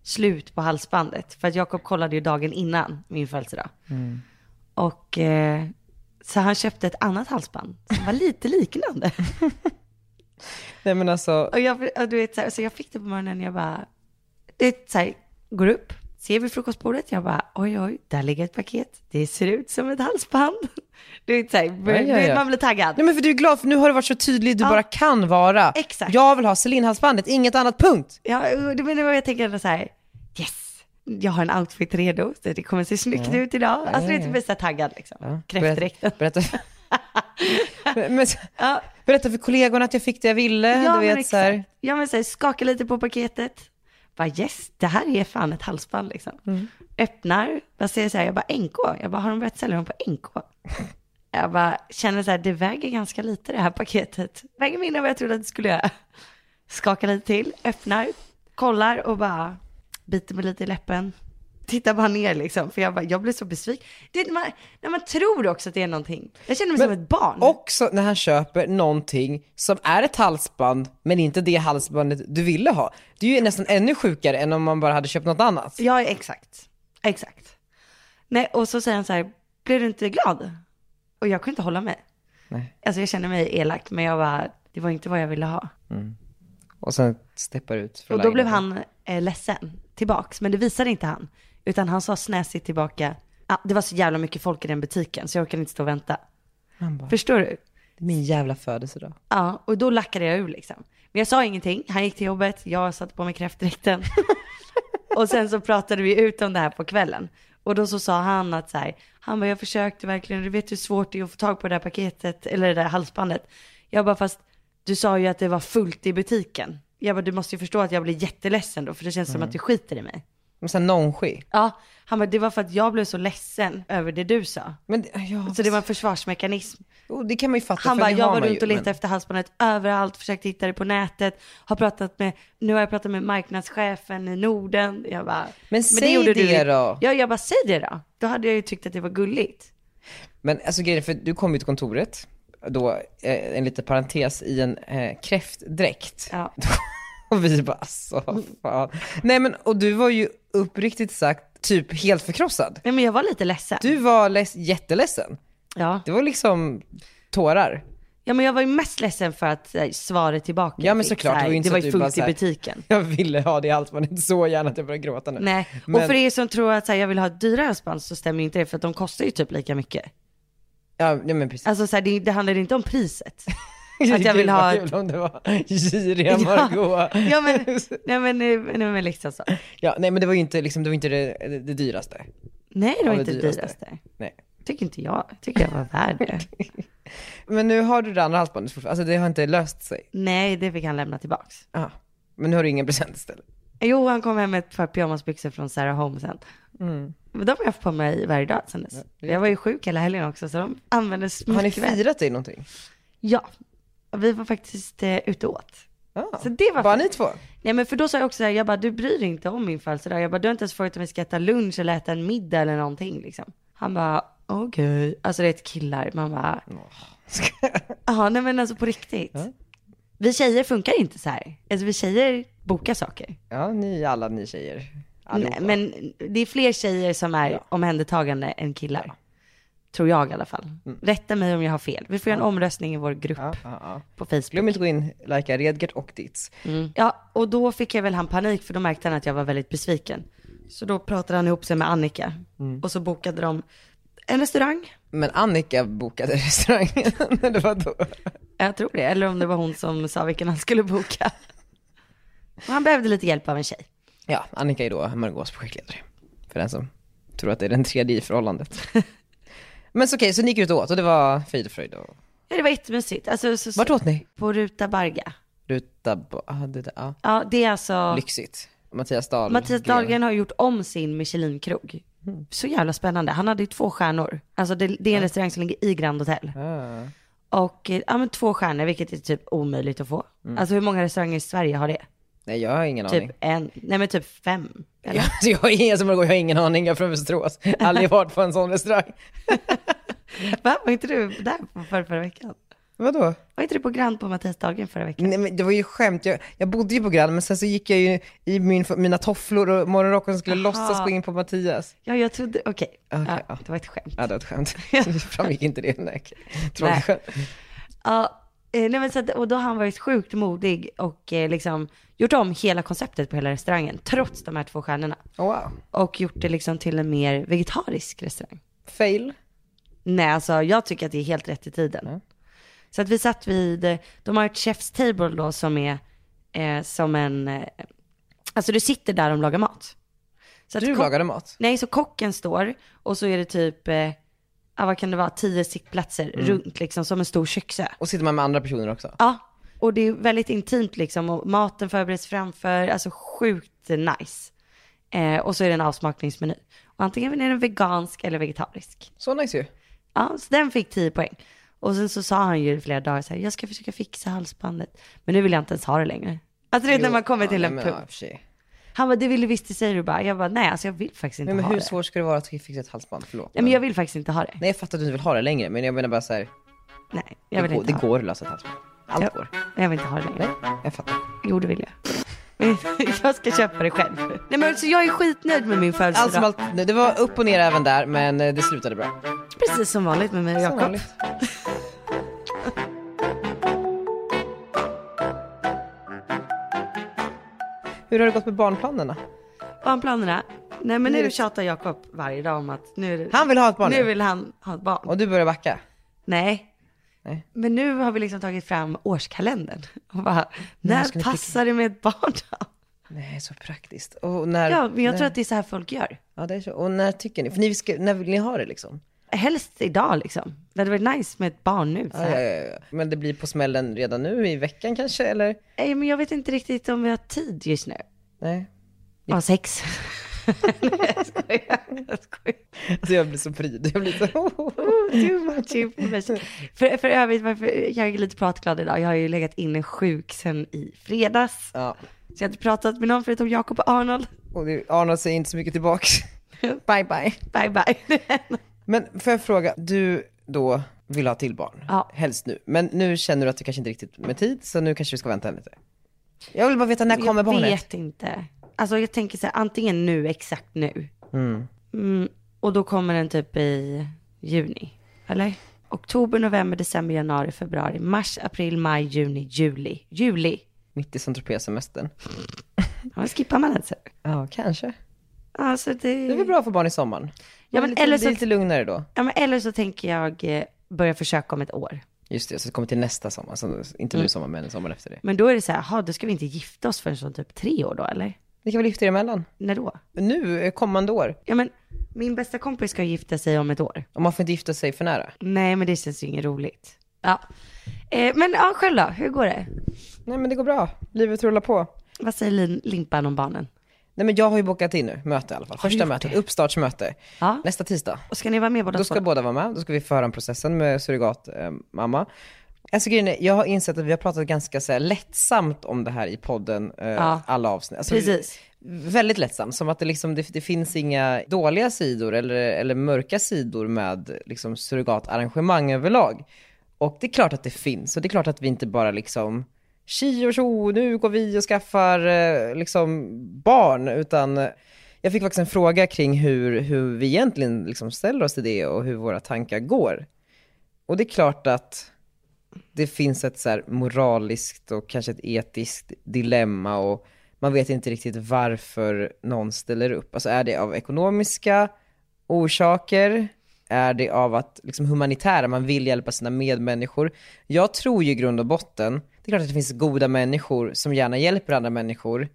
Speaker 6: slut på halsbandet. För att Jakob kollade ju dagen innan min födelsedag.
Speaker 4: Mm.
Speaker 6: Och eh, så han köpte ett annat halsband som var lite liknande.
Speaker 4: Nej men alltså,
Speaker 6: Och jag, och du vet, så, här, så jag fick det på morgonen och jag bara, det är så här, går upp, ser vid frukostbordet, jag bara, oj oj, där ligger ett paket, det ser ut som ett halsband. Du vet, så här,
Speaker 4: ja,
Speaker 6: du vet,
Speaker 4: ja.
Speaker 6: man blir taggad.
Speaker 4: nej men för du är glad för nu har du varit så tydlig du
Speaker 6: Ja.
Speaker 4: bara kan vara.
Speaker 6: Exakt.
Speaker 4: Jag vill ha Celine-halsbandet, inget annat punkt.
Speaker 6: Ja, och det menar jag, jag tänker ändå så här, yes, jag har en outfit redo, så det kommer se snyggt ut idag. Alltså det är typ så här taggad liksom, kräftdräkten.
Speaker 4: Berätta, berätta, men,
Speaker 6: Ja,
Speaker 4: berätta för kollegorna att jag fick det jag ville.
Speaker 6: ja,
Speaker 4: du
Speaker 6: men
Speaker 4: vet, så här.
Speaker 6: exakt. Ja men så här, skaka lite på paketet. Bara yes, det här är fan ett halsband liksom.
Speaker 4: Mm.
Speaker 6: Öppnar, bara ser så här, jag bara NK, jag bara har de börjat sälja dem på NK? Jag bara känner så här, det väger ganska lite det här paketet. Väger mindre än vad jag trodde att det skulle göra. Skakar lite till, öppnar, kollar och bara biter mig lite i läppen. Tittar bara ner liksom, för jag, bara, jag blir så besviken. Det är när man, när man tror också att det är någonting. Jag känner mig som ett barn.
Speaker 4: Också när han köper någonting som är ett halsband, men inte det halsbandet du ville ha. Det är ju nästan ännu sjukare än om man bara hade köpt något annat.
Speaker 6: Ja, exakt. Exakt. Nej, och så säger han så här, blir du inte glad? Och jag kunde inte hålla mig.
Speaker 4: Nej.
Speaker 6: Alltså jag kände mig elak, men jag var det var inte vad jag ville ha.
Speaker 4: Och sen steppar ut från
Speaker 6: Och då blev
Speaker 4: lägenheten.
Speaker 6: han eh, ledsen tillbaks, men det visade inte han. Utan han sa snäsigt tillbaka, ah, det var så jävla mycket folk i den butiken så jag orkade inte stå och vänta.
Speaker 4: Han bara,
Speaker 6: Förstår du?
Speaker 4: det är min jävla födelsedag.
Speaker 6: Ja, och då lackade jag ur liksom. Men jag sa ingenting, han gick till jobbet, jag satte på mig kräftdräkten. och sen så pratade vi ut om det här på kvällen. Och då så sa han att så här, han bara jag försökte verkligen, du vet hur svårt det är att få tag på det där paketet, eller det där halsbandet. Jag bara fast du sa ju att det var fullt i butiken. Jag bara du måste ju förstå att jag blir jätteledsen då, för det känns som att du skiter i mig.
Speaker 4: Men sen nonchi.
Speaker 6: Ja, han bara det var för att jag blev så ledsen över det du sa.
Speaker 4: Men det, ja,
Speaker 6: Så Alltså, det var en försvarsmekanism.
Speaker 4: Jo, det kan man ju fatta.
Speaker 6: Han
Speaker 4: för
Speaker 6: bara,
Speaker 4: det
Speaker 6: jag
Speaker 4: har
Speaker 6: var
Speaker 4: man
Speaker 6: runt
Speaker 4: ju,
Speaker 6: och letade
Speaker 4: men-
Speaker 6: efter halsbandet överallt, försökt hitta det på nätet, har pratat med, nu har jag pratat med marknadschefen i Norden. Jag bara, men,
Speaker 4: säg det
Speaker 6: du.
Speaker 4: då.
Speaker 6: Ja, jag bara, säg det då. Då hade jag ju tyckt att det var gulligt.
Speaker 4: Men alltså grejen är, för du kom ju till kontoret, då, eh, en liten parentes, i en eh, kräftdräkt.
Speaker 6: Ja.
Speaker 4: Och vi bara, alltså vad fan. Nej men, och du var ju uppriktigt sagt typ helt förkrossad.
Speaker 6: Nej, men jag var lite ledsen.
Speaker 4: Du var less, jätteledsen.
Speaker 6: Ja.
Speaker 4: Det var liksom tårar.
Speaker 6: ja, men jag var ju mest ledsen för att eh, svaret tillbaka
Speaker 4: Ja, men
Speaker 6: fick
Speaker 4: såklart,
Speaker 6: så här,
Speaker 4: det var ju inte
Speaker 6: det var
Speaker 4: så
Speaker 6: ju
Speaker 4: att du bara
Speaker 6: fullt
Speaker 4: så
Speaker 6: i
Speaker 4: här-
Speaker 6: butiken.
Speaker 4: Jag ville ha det i halsbandet så gärna att jag började gråta nu.
Speaker 6: Nej,
Speaker 4: Men-
Speaker 6: och för er som tror att så här, jag vill ha ett dyrare halsband så stämmer ju inte det för att de kostar ju typ lika mycket.
Speaker 4: Ja, ja men precis.
Speaker 6: Alltså så här, det, det handlar inte om priset. att jag vill ha
Speaker 4: Gud, vad
Speaker 6: ett-
Speaker 4: kul om det var giriga Margot.
Speaker 6: Ja men, nej, men, eh, nej, men liksom så.
Speaker 4: Ja, nej men det var ju inte, liksom, det, var inte det, det, det dyraste.
Speaker 6: Nej, det var
Speaker 4: det
Speaker 6: inte det
Speaker 4: dyraste.
Speaker 6: dyraste.
Speaker 4: Nej.
Speaker 6: Tycker inte jag. Tycker jag var värd det.
Speaker 4: Men nu har du det andra halsbandet fortfarande, alltså det har inte löst sig.
Speaker 6: Nej, det fick han lämna tillbaks.
Speaker 4: Ja. Men nu har du ingen present istället.
Speaker 6: Jo, han kom hem med ett par pyjamasbyxor från Sarah Home sen.
Speaker 4: Mm.
Speaker 6: Men de har jag haft på mig varje dag sen dess. Jag var ju sjuk hela helgen också, så de använde
Speaker 4: Har ni
Speaker 6: smyckväst.
Speaker 4: firat dig någonting?
Speaker 6: Ja. Och vi var faktiskt eh, ute och åt.
Speaker 4: Ja.
Speaker 6: Så det var
Speaker 4: Bara
Speaker 6: fint.
Speaker 4: Ah. ni två?
Speaker 6: Nej men för då sa jag också så här, jag bara du bryr dig inte om min födelsedag. Jag bara du har inte ens frågat om vi ska äta lunch eller äta en middag eller någonting liksom. Han bara okej. Alltså det är ett killar. Man bara ja nej men alltså på riktigt. Vi tjejer funkar inte så här. Alltså vi tjejer bokar saker.
Speaker 4: Ja, ni alla ni tjejer.
Speaker 6: Nej, men det är fler tjejer som är omhändertagande än killar. Tror jag i alla fall. Rätta mig om jag har fel. Vi får göra en omröstning i vår grupp
Speaker 4: Mm. Ja, ja, ja.
Speaker 6: på Facebook.
Speaker 4: Glöm inte att gå in, likea Redgert och Ditz.
Speaker 6: Ja, och då fick jag väl han panik för då märkte han att jag var väldigt besviken. Så då pratade han ihop sig med Annika och så bokade de en restaurang.
Speaker 4: Men Annika bokade restaurangen, det var då.
Speaker 6: Jag tror det, eller om det var hon som sa vilken han skulle boka. Och han behövde lite hjälp av en tjej.
Speaker 4: Ja, Annika är då Margaux projektledare. För den som tror att det är den tredje i förhållandet. Men så okej, så ni gick ut och åt och det var frid och fröjd och...
Speaker 6: Ja, det var jättemysigt. Alltså, så, så,
Speaker 4: Vart åt ni?
Speaker 6: på Ruta Barga.
Speaker 4: Ruta, bo- ah, det där, ja.
Speaker 6: Ja, det är alltså...
Speaker 4: Lyxigt. Mattias Dahl.
Speaker 6: Mattias Dahlgren har gjort om sin Michelin-krog. Så jävla spännande. Han hade ju två stjärnor. Alltså det, det är en restaurang som ligger i Grand Hotel.
Speaker 4: Ah.
Speaker 6: Och eh, ja, men två stjärnor, vilket är typ omöjligt att få. Alltså hur många restauranger i Sverige har det?
Speaker 4: Nej, jag har ingen aning.
Speaker 6: Typ en, nej men typ fem.
Speaker 4: Ja, så jag, har ingen, som Margot, jag har ingen aning, jag är från Västerås. Aldrig varit på en sån restaurang.
Speaker 6: Va? Var inte du där på förra, förra veckan?
Speaker 4: Vadå?
Speaker 6: Var inte du på Grand på Mattias Dahlgren förra veckan?
Speaker 4: Nej, men det var ju skämt. Jag, jag bodde ju på Grand, men sen så gick jag ju i min, mina tofflor och morgonrocken och skulle
Speaker 6: Aha.
Speaker 4: låtsas gå in på Mattias.
Speaker 6: Ja jag trodde, okej.
Speaker 4: Okej,
Speaker 6: ja,
Speaker 4: ja.
Speaker 6: det var ett skämt.
Speaker 4: Ja, det var ett skämt. Det framgick inte det. Nej. Tråkigt skämt.
Speaker 6: Ja, eh, nej men så att, och då har han varit sjukt modig och eh, liksom gjort om hela konceptet på hela restaurangen, trots de här två stjärnorna.
Speaker 4: Oh, Wow.
Speaker 6: Och gjort det liksom till en mer vegetarisk restaurang.
Speaker 4: Fail.
Speaker 6: Nej, alltså jag tycker att det är helt rätt i tiden. Så att vi satt vid, eh, de har ett chef's table då som är eh, som en, eh, alltså du sitter där de lagar mat. Så att
Speaker 4: Du
Speaker 6: kock-
Speaker 4: lagade mat.
Speaker 6: Nej, så kocken står och så är det typ, eh, ja, vad kan det vara, tio sittplatser runt liksom som en stor köksö.
Speaker 4: Och sitter man med andra personer också.
Speaker 6: Ja, och det är väldigt intimt liksom och maten förbereds framför, alltså sjukt nice. Eh, och så är det en avsmakningsmeny. Och antingen är den vegansk eller vegetarisk.
Speaker 4: Så nice ju.
Speaker 6: Ja, så den fick 10 poäng. Och sen så sa han ju i flera dagar så här, jag ska försöka fixa halsbandet. Men nu vill jag inte ens ha det längre. Alltså du vet när man kommer
Speaker 4: Jo,
Speaker 6: till
Speaker 4: ja,
Speaker 6: en
Speaker 4: nej, men, ja, i och
Speaker 6: punkt.
Speaker 4: för sig.
Speaker 6: Han bara, det vill du visst, det säger du bara. Jag bara, nej alltså jag vill faktiskt inte
Speaker 4: Nej, men
Speaker 6: ha
Speaker 4: hur
Speaker 6: det.
Speaker 4: svårt ska det vara att fixa ett halsband? Förlåt.
Speaker 6: Nej men jag vill faktiskt inte ha det.
Speaker 4: Nej, jag fattar att du inte vill ha det längre, men jag menar bara så här,
Speaker 6: Nej, jag
Speaker 4: det,
Speaker 6: vill
Speaker 4: går,
Speaker 6: inte
Speaker 4: det
Speaker 6: ha
Speaker 4: går att lösa ett halsband. Allt
Speaker 6: Ja.
Speaker 4: går.
Speaker 6: det. Jag vill inte ha det längre.
Speaker 4: Nej, jag fattar.
Speaker 6: Jo, det vill jag. Men jag ska köpa det själv. Nej men så jag är skitnöjd med min
Speaker 4: Allt
Speaker 6: födelsedag.
Speaker 4: som allt, nej, det var upp och ner även där, men eh, det slutade bra.
Speaker 6: Precis som vanligt med mig och
Speaker 4: Som
Speaker 6: Jakob.
Speaker 4: vanligt. Hur har det gått med barnplanerna?
Speaker 6: Barnplanerna. Nej men nu tjatar Jakob varje dag om att nu, är det-
Speaker 4: Han vill ha ett barn
Speaker 6: nu vill han ha ett barn.
Speaker 4: och du börjar backa.
Speaker 6: Nej.
Speaker 4: Nej.
Speaker 6: Men nu har vi liksom tagit fram årskalendern och bara,
Speaker 4: ska
Speaker 6: när
Speaker 4: ni pricka?
Speaker 6: passar det med ett barn då?
Speaker 4: Nej, så praktiskt. Och när,
Speaker 6: Ja, men jag
Speaker 4: när,
Speaker 6: tror att det är så här folk gör.
Speaker 4: Ja, det är så. Och när tycker ni? För ni ska, när vill ni ha det liksom?
Speaker 6: Helst idag liksom. Det hade varit nice med ett barn nu.
Speaker 4: Ja,
Speaker 6: Så
Speaker 4: ja,
Speaker 6: här.
Speaker 4: ja, ja. Eh, Men det blir på smällen redan nu i veckan kanske, eller?
Speaker 6: Nej, men jag vet inte riktigt om vi har tid just nu.
Speaker 4: Nej.
Speaker 6: Ja, sex. Nej, jag skojar. Jag skojar. Oh,
Speaker 4: Alltså jag blir så pryd. Jag blir så...
Speaker 6: Too much information. För, för övrigt, varför, jag är lite pratglad idag. Jag har ju legat inne sjuk sen i fredags.
Speaker 4: ja.
Speaker 6: Så jag har inte pratat med någon förutom Jakob och Arnold.
Speaker 4: Och det- Arnold säger inte så mycket tillbaka. bye bye.
Speaker 6: Bye bye.
Speaker 4: Men får jag fråga, du då vill ha till barn?
Speaker 6: Ja.
Speaker 4: Helst nu. Men nu känner du att du kanske inte riktigt med tid, så nu kanske vi ska vänta lite. Jag vill bara veta, när kommer
Speaker 6: jag
Speaker 4: barnet?
Speaker 6: vet inte. Alltså jag tänker så här, antingen nu, exakt nu. Mm, och då kommer den typ i juni, eller? Oktober, november, december, januari, februari, mars, april, maj, juni, juli. Juli.
Speaker 4: Mitt i Saint-Tropez-semestern.
Speaker 6: Ja, men skippar man den så?
Speaker 4: Ja, kanske.
Speaker 6: Alltså det...
Speaker 4: Det är väl bra att få barn i sommaren?
Speaker 6: Ja,
Speaker 4: Ja,
Speaker 6: men
Speaker 4: men lite,
Speaker 6: eller
Speaker 4: eller
Speaker 6: så-
Speaker 4: lite lugnare då.
Speaker 6: Ja, men eller så tänker jag eh, börja försöka om ett år.
Speaker 4: Just det, så det kommer till nästa sommar. Så, inte
Speaker 6: Mm.
Speaker 4: nu sommar, men sommar efter det.
Speaker 6: Men då är det så här, jaha, då ska vi inte gifta oss förrän som typ tre år då, eller?
Speaker 4: Ni kan väl gifta er emellan?
Speaker 6: När då?
Speaker 4: Nu, eh, kommande år.
Speaker 6: Ja, men min bästa kompis ska gifta sig om ett år.
Speaker 4: Om man får inte gifta sig för nära.
Speaker 6: Nej, men det känns ju inget roligt. Ja. Eh, men ja, själv då, hur går det?
Speaker 4: Nej, men det går bra. Livet rullar på.
Speaker 6: Vad säger Lin, Limpan om barnen?
Speaker 4: Nej, men jag har ju bokat in nu, möte i alla fall. Första mötet, uppstartsmöte.
Speaker 6: Ja.
Speaker 4: Nästa tisdag.
Speaker 6: Och ska ni vara med båda
Speaker 4: Då ska
Speaker 6: två?
Speaker 4: båda vara med. Då ska vi föra en processen med surrogatmamma. alltså grejen är, jag har insett att vi har pratat ganska så här, lättsamt om det här i podden, eh,
Speaker 6: Ja.
Speaker 4: alla avsnitt. Alltså,
Speaker 6: Precis.
Speaker 4: vi- Väldigt lättsamt, som att det, liksom, det, det finns inga dåliga sidor eller, eller mörka sidor med liksom, surrogatarrangemang överlag. Och det är klart att det finns, och det är klart att vi inte bara liksom tji och tjo, nu går vi och skaffar eh, liksom, barn, utan eh, Jag fick faktiskt en fråga kring hur, hur vi egentligen liksom ställer oss till det och hur våra tankar går. Och det är klart att det finns ett så här moraliskt och kanske ett etiskt dilemma och man vet inte riktigt varför någon ställer upp. Alltså är det av ekonomiska orsaker? Är det av att liksom humanitära, man vill hjälpa sina medmänniskor? Jag tror ju i grund och botten, det är klart att det finns goda människor som gärna hjälper andra människor,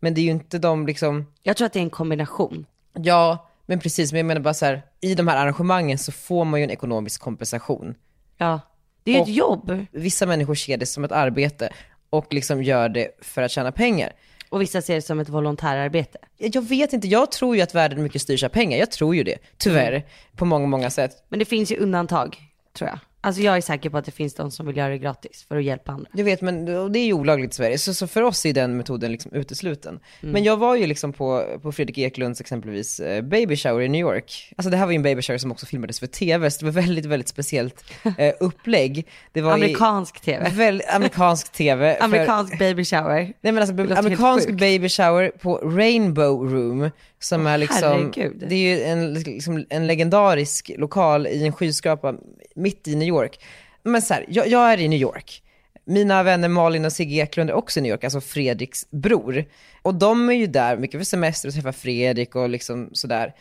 Speaker 4: men det är ju inte de liksom,
Speaker 6: Jag tror att det är en kombination.
Speaker 4: ja, men precis, men jag menar bara så här, i de här arrangemangen så får man ju en ekonomisk kompensation
Speaker 6: Ja. Det är ju ett
Speaker 4: Och-
Speaker 6: jobb
Speaker 4: vissa människor ser det som ett arbete och liksom gör det för att tjäna pengar.
Speaker 6: och vissa ser det som ett volontärarbete.
Speaker 4: Jag vet inte, jag tror ju att världen mycket styrs av pengar. Jag tror ju det, tyvärr, på många, många sätt.
Speaker 6: Men det finns ju undantag, tror jag. Alltså jag är säker på att det finns de som vill göra det gratis för att hjälpa andra.
Speaker 4: Jag vet, men det är ju olagligt i Sverige, så, så för oss är den metoden liksom utesluten. Men jag var ju liksom på, på Fredrik Eklunds exempelvis eh, baby shower i New York. Alltså det här var ju en baby shower som också filmades för tv, så det var väldigt, väldigt speciellt eh, upplägg. Det var
Speaker 6: Amerikansk
Speaker 4: i,
Speaker 6: tv.
Speaker 4: väl, amerikansk tv. för-
Speaker 6: Amerikansk baby shower.
Speaker 4: Nej men
Speaker 6: Det
Speaker 4: alltså
Speaker 6: låter
Speaker 4: amerikansk
Speaker 6: helt sjukt.
Speaker 4: baby shower på Rainbow Room som är liksom,
Speaker 6: herregud.
Speaker 4: det är ju en, liksom, en legendarisk lokal i en skyskrapa mitt i New York. Men så här, jag, jag är i New York. Mina vänner Malin och Sigge Eklund är också i New York, alltså Fredriks bror. Och de är ju där mycket för semester och träffar Fredrik och liksom sådär.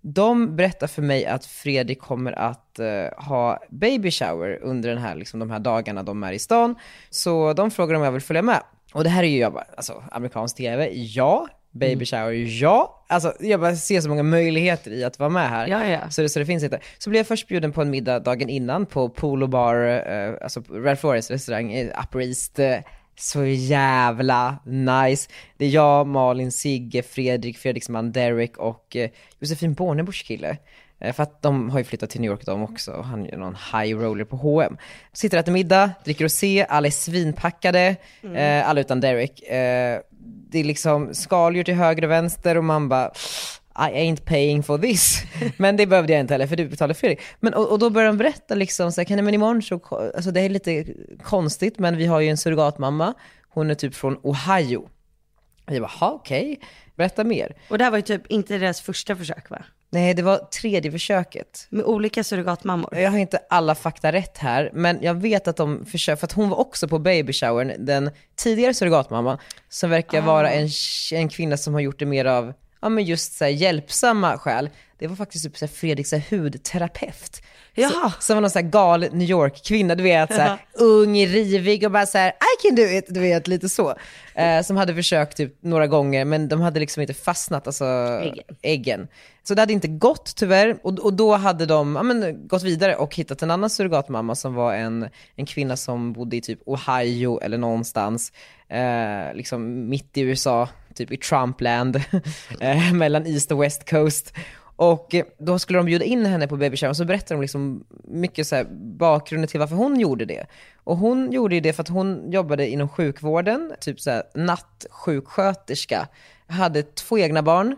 Speaker 4: De berättar för mig att Fredrik kommer att eh, ha baby shower under den här, liksom, de här dagarna de är i stan. Så de frågar om jag vill följa med. Och det här är ju jag bara, alltså amerikansk tv, ja.
Speaker 6: Mm.
Speaker 4: Baby shower, ja. Alltså jag bara ser så många möjligheter i att vara med här.
Speaker 6: Ja, ja.
Speaker 4: Så, det, så det finns inte. Så blev jag först bjuden på en middag dagen innan på Polo Bar, eh, alltså Ralph Lauren's restaurang i Upper East. Eh, Så jävla nice. Det är jag, Malin, Sigge, Fredrik, Fredriks man Derek och eh, Josefin Bornebusch kille. Eh, För att de har ju flyttat till New York de också och han är någon high roller på H&M. Sitter och äter middag, dricker rosé, alla är svinpackade, eh, alla utan Derek. Eh, det är liksom skaldjur till höger och vänster och man bara I ain't paying for this. Men det behövde jag inte heller för du betalade Fredrik. Men, och, och då började de berätta liksom, så här, "Kan ni- men imorgon så, ko- alltså det är lite konstigt men vi har ju en surrogatmamma, hon är typ från Ohio. Och jag bara, "Ha, okej, berätta mer.
Speaker 6: Och det här var ju typ inte deras första försök va?
Speaker 4: Nej, det var tredje försöket.
Speaker 6: Med olika surrogatmammor.
Speaker 4: Jag har inte alla fakta rätt här, men jag vet att de försöker, för att hon var också på babyshowern, den tidigare surrogatmamman, som verkar vara en, en kvinna som har gjort det mer av, ja men just så här, hjälpsamma skäl. Det var faktiskt typ så här, Fredrik så här, hudterapeut.
Speaker 6: Jaha.
Speaker 4: Så, som var någon så här gal New York-kvinna, du vet så här, ung, rivig och bara så här, I can do it, du vet lite så. Eh, som hade försökt typ några gånger, men de hade liksom inte fastnat, alltså äggen. Så det hade inte gått tyvärr, och, och då hade de ja, men, gått vidare och hittat en annan surrogatmamma som var en, en kvinna som bodde i typ Ohio eller någonstans, eh, liksom mitt i USA, typ i Trumpland, eh, mellan East och West Coast. Och eh, då skulle de bjuda in henne på baby shower, och så berättade de liksom mycket så här bakgrunden till varför hon gjorde det. Och hon gjorde ju det för att hon jobbade inom sjukvården, typ så här nattsjuksköterska, hade två egna barn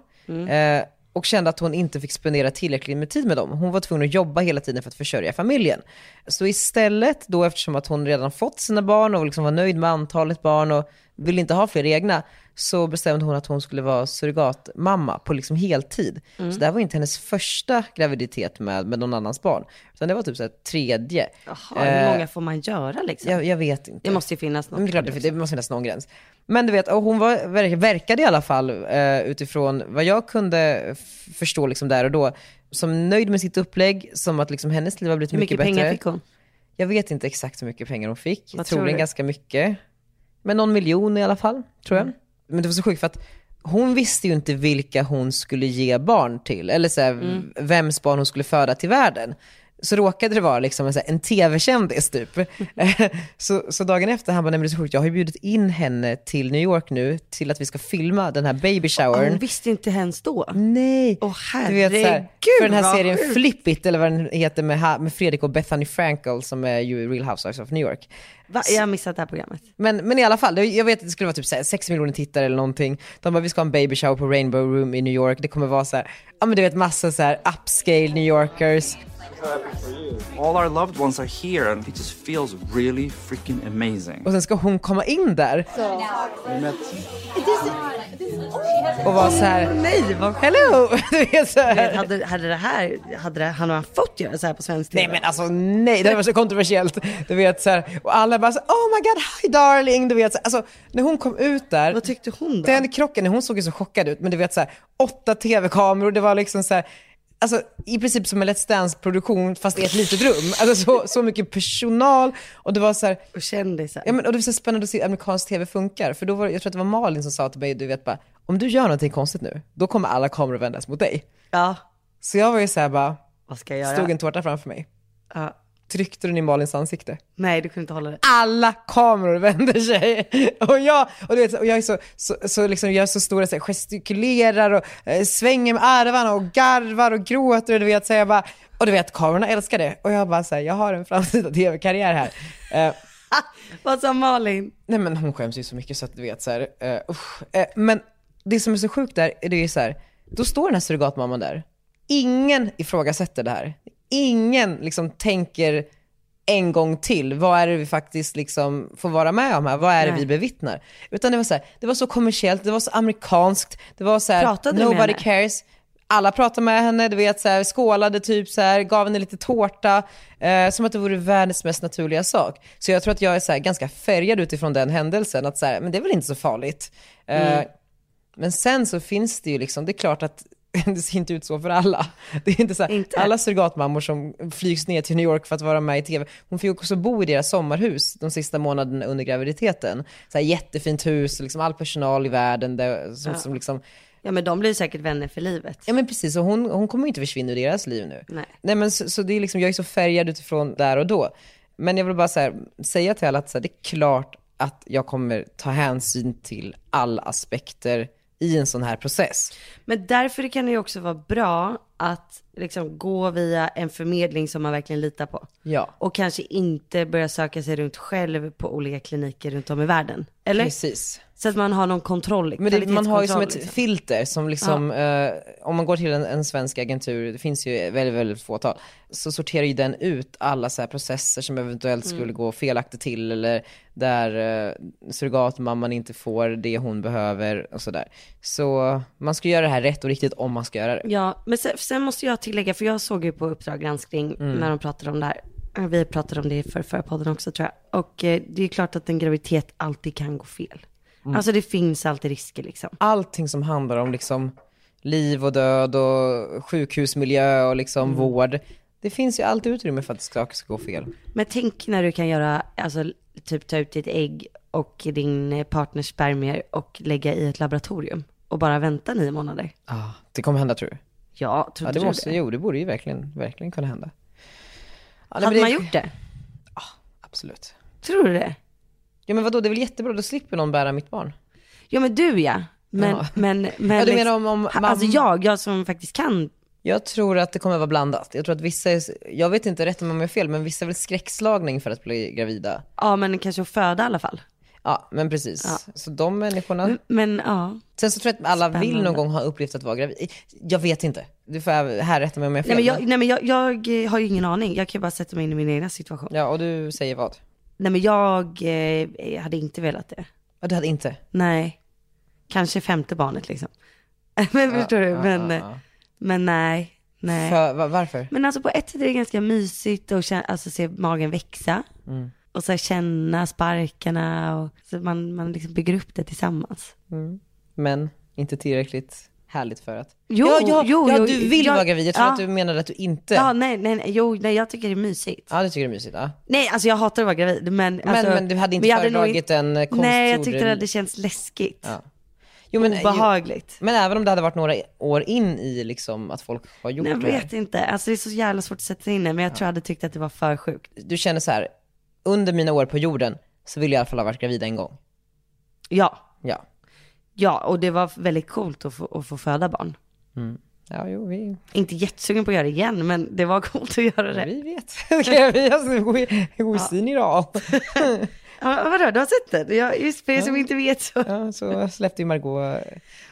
Speaker 4: eh, och kände att hon inte fick spendera tillräckligt med tid med dem. Hon var tvungen att jobba hela tiden för att försörja familjen. Så istället då, eftersom att hon redan fått sina barn och liksom var nöjd med antalet barn och ville inte ha fler egna, så bestämde hon att hon skulle vara surrogatmamma på liksom heltid. Så det här var inte hennes första graviditet med, med någon annans barn, utan det var typ så här tredje.
Speaker 6: Jaha, hur många får man göra liksom?
Speaker 4: Jag, jag vet inte.
Speaker 6: Det måste ju finnas något.
Speaker 4: Men det, är klart, Mm, det, det måste finnas någon gräns. Men du vet, och hon var, verk- verkade i alla fall eh, utifrån vad jag kunde f- förstå liksom där och då, som nöjd med sitt upplägg, som att liksom hennes liv har blivit
Speaker 6: Hur mycket
Speaker 4: mycket bättre.
Speaker 6: pengar fick hon?
Speaker 4: Jag vet inte exakt hur mycket pengar hon fick.
Speaker 6: Vad tror
Speaker 4: Troligen
Speaker 6: du?
Speaker 4: ganska mycket. Men någon miljon i alla fall, tror
Speaker 6: Mm.
Speaker 4: jag. Men det var så sjukt för att hon visste ju inte vilka hon skulle ge barn till. Eller så här,
Speaker 6: Mm.
Speaker 4: vems barn hon skulle föda till världen. Så råkade det vara liksom en, så här, en tv-kändis typ. så, så dagen efter, han bara, nej men det är så sjukt, jag har ju bjudit in henne till New York nu, till att vi ska filma den här baby showern.
Speaker 6: Hon visste inte ens då.
Speaker 4: Nej.
Speaker 6: Åh,
Speaker 4: du vet, så här,
Speaker 6: herregud,
Speaker 4: för den här
Speaker 6: vad
Speaker 4: serien
Speaker 6: sjukt.
Speaker 4: Flip It, eller vad den heter, med, ha- med Fredrik och Bethany Frankel som är ju i Real Housewives of New York.
Speaker 6: Va? Jag har missat det här programmet.
Speaker 4: Men, men i alla fall, det- jag vet att det skulle vara typ så här 6 miljoner tittare eller någonting. De bara, vi ska ha en baby shower på Rainbow Room i New York. Det kommer vara så här, ja men du vet massa så här upscale New Yorkers.
Speaker 7: All our loved ones are here, and it just feels really freaking amazing.
Speaker 4: Och sen ska hon komma in där.
Speaker 8: This, this, oh,
Speaker 4: och var så här,
Speaker 6: Nej, vad sjukt.
Speaker 4: hello! Du vet så
Speaker 6: Du vet,
Speaker 4: här.
Speaker 6: Hade, hade det här, hade det, hade han fått göra så här på svensk TV?
Speaker 4: Nej men alltså nej, det här var så kontroversiellt. Du vet så här, och alla bara så, oh my god, hi darling. Du vet, så här, alltså, när hon kom ut där,
Speaker 6: Vad tyckte hon då?
Speaker 4: den krocken, hon såg ju så chockad ut, men du vet så här, åtta tv-kameror, det var liksom så här, alltså i princip som en Let's Dance-produktion fast i ett litet rum. Alltså så, så mycket personal och det var så här,
Speaker 6: Och kändisar.
Speaker 4: Ja, men, och det är så spännande att se hur amerikansk tv funkar. För då var, det- jag tror att det var Malin som sa till mig, du vet bara, om du gör någonting konstigt nu, då kommer alla kameror vändas mot dig.
Speaker 6: Ja,
Speaker 4: Så jag var ju såhär bara,
Speaker 6: vad ska jag göra?
Speaker 4: stod en tårta framför mig,
Speaker 6: Ja.
Speaker 4: tryckte den i Malins ansikte.
Speaker 6: Nej, du kunde inte hålla det.
Speaker 4: Alla kameror vänder sig. Och jag, och du vet, och jag är så, så, så liksom, gör så stora, så här, gestikulerar och eh, svänger med armarna och garvar och gråter. Och du vet, så jag bara, och du vet, kamerorna älskar det. Och jag bara, så här, jag har en framtida tv-karriär här. Eh,
Speaker 6: Ah, vad sa Malin?
Speaker 4: Nej men hon skäms ju så mycket så att du vet så här, eh, usch. Eh, Men det som är så sjukt där, det är ju så här, då står den här surrogatmamman där. Ingen ifrågasätter det här. Ingen liksom tänker en gång till, vad är det vi faktiskt liksom får vara med om här? Vad är det vi bevittnar? Utan det var så här, det var så kommersiellt, det var så amerikanskt, det var så här,
Speaker 6: Pratade du med
Speaker 4: nobody
Speaker 6: henne?
Speaker 4: cares. Alla pratade med henne, du vet så här, skålade typ så här, gav henne lite tårta. Eh, som att det vore världens mest naturliga sak. Så jag tror att jag är så här, ganska färgad utifrån den händelsen. Att så här, men det är väl inte så farligt. Eh,
Speaker 6: Mm.
Speaker 4: Men sen så finns det ju liksom, det är klart att det ser inte ut så för alla. Det är inte så här,
Speaker 6: Inte?
Speaker 4: alla surrogatmammor som flygs ner till New York för att vara med i tv. Hon fick också bo i deras sommarhus de sista månaderna under graviditeten. Så här, jättefint hus, liksom all personal i världen där, som, som liksom
Speaker 6: Ja, men de blir säkert vänner för livet.
Speaker 4: Ja men precis, och hon, hon kommer ju inte försvinna ur deras liv nu.
Speaker 6: Nej.
Speaker 4: men så, så det är liksom, jag är så färgad utifrån där och då. Men jag vill bara så här, säga till alla att så här, det är klart att jag kommer ta hänsyn till alla aspekter i en sån här process.
Speaker 6: Men därför kan det ju också vara bra att liksom gå via en förmedling som man verkligen litar på.
Speaker 4: Ja.
Speaker 6: Och kanske inte börja söka sig runt själv på olika kliniker runt om i världen. Eller?
Speaker 4: Precis.
Speaker 6: Så att man har någon kontroll.
Speaker 4: Men det, man har ju som ett
Speaker 6: kvalitetskontroll, liksom.
Speaker 4: filter som liksom, eh, om man går till en, en svensk agentur, det finns ju väldigt, väldigt fåtal, så sorterar ju den ut alla så här processer som eventuellt
Speaker 6: Mm.
Speaker 4: skulle gå felaktigt till eller där eh, surrogatmamman inte får det hon behöver och sådär. Så man ska göra det här rätt och riktigt om man ska göra det.
Speaker 6: Ja, men sen, sen måste jag tillägga, för jag såg ju på Uppdrag granskning
Speaker 4: Mm.
Speaker 6: när de pratade om det här. Eh, Vi pratade om det i för, förra podden också tror jag. Och eh, det är klart att en graviditet alltid kan gå fel.
Speaker 4: Mm.
Speaker 6: Alltså det finns alltid risker liksom.
Speaker 4: Allting som handlar om liksom liv och död och sjukhusmiljö och liksom
Speaker 6: Mm.
Speaker 4: vård, det finns ju alltid utrymme för att saker ska gå fel.
Speaker 6: Men tänk när du kan göra, alltså typ ta ut ditt ägg och din eh, partners spermier och lägga i ett laboratorium och bara vänta nio månader.
Speaker 4: Ah, det kommer hända tror du?
Speaker 6: Ja,
Speaker 4: Ja,
Speaker 6: trodde
Speaker 4: det
Speaker 6: du
Speaker 4: måste,
Speaker 6: det?
Speaker 4: jo, det borde ju verkligen, verkligen kunna hända. Ja, nej,
Speaker 6: Hade
Speaker 4: men
Speaker 6: man
Speaker 4: det-
Speaker 6: gjort det?
Speaker 4: Absolut.
Speaker 6: Tror du det?
Speaker 4: Ja men vadå, det är väl jättebra, då slipper någon bära mitt barn.
Speaker 6: Ja men du ja. Men,
Speaker 4: Ja.
Speaker 6: men, men.
Speaker 4: Ja, du
Speaker 6: liksom-
Speaker 4: menar om- om
Speaker 6: Ha-
Speaker 4: mam-
Speaker 6: Alltså jag, jag som faktiskt kan.
Speaker 4: Jag tror att det kommer vara blandat. Jag tror att vissa, är, jag vet inte rätt om jag är fel, men vissa är väl skräckslagning för att bli gravida.
Speaker 6: Ja men kanske att föda i alla fall.
Speaker 4: Ja, men precis. Så de människorna.
Speaker 6: Men ja.
Speaker 4: Sen så tror jag att alla vill
Speaker 6: Mm. Spännande.
Speaker 4: någon gång ha upplevt att vara gravid. Jag vet inte. Du får här rätta mig om jag är fel.
Speaker 6: Nej men, jag,
Speaker 4: men-
Speaker 6: nej, men jag, jag eh, har ju ingen aning. Jag kan ju bara sätta mig in i min egna situation.
Speaker 4: Ja, och du säger vad?
Speaker 6: Nej men jag eh, hade inte velat det.
Speaker 4: Ja, du hade inte?
Speaker 6: Nej, kanske femte barnet liksom. men förstår du? men, men nej, nej.
Speaker 4: För, va- varför?
Speaker 6: Men alltså på ett sätt är det ganska mysigt att känna, alltså, se magen växa.
Speaker 4: Mm.
Speaker 6: Och så här känna sparkarna och så man, man liksom bygger upp det tillsammans.
Speaker 4: men inte tillräckligt härligt för att...
Speaker 6: Jo,
Speaker 4: ja, ja,
Speaker 6: jo,
Speaker 4: ja,
Speaker 6: jo,
Speaker 4: du vill
Speaker 6: jag-
Speaker 4: vara gravid. Jag tror
Speaker 6: ja.
Speaker 4: att du menade att du inte...
Speaker 6: Ja,
Speaker 4: Ja,
Speaker 6: nej, nej, nej, jo, nej, jag tycker det är mysigt.
Speaker 4: det tycker jag är mysigt. Ja.
Speaker 6: Nej, alltså jag hatar att vara gravid, men
Speaker 4: Men,
Speaker 6: alltså,
Speaker 4: men du hade inte
Speaker 6: jag nog
Speaker 4: föredragit en eh, konstgjord...
Speaker 6: Nej, jag tyckte det hade känts läskigt.
Speaker 4: Ja. Jo, men, jo,
Speaker 6: obehagligt.
Speaker 4: men även om det hade varit några år in i liksom, att folk har gjort
Speaker 6: Nej, jag
Speaker 4: det här.
Speaker 6: vet inte, alltså det är så jävla svårt att sätta sig in i, men jag tror jag hade tyckt att det var för sjukt.
Speaker 4: Du känner så här, under mina år på jorden så vill jag i alla fall ha varit gravid en gång.
Speaker 6: Ja,
Speaker 4: Ja.
Speaker 6: ja och det var väldigt coolt att få, att få föda barn.
Speaker 4: Ja, jo, vi,
Speaker 6: Inte jättesugen på att göra det igen, men det var coolt att göra det.
Speaker 4: vi vet. vi har god, god syn idag.
Speaker 6: Ja, vadå, du har sett det? Jag, just för er som inte vet så.
Speaker 4: Ja, så släppte ju Margot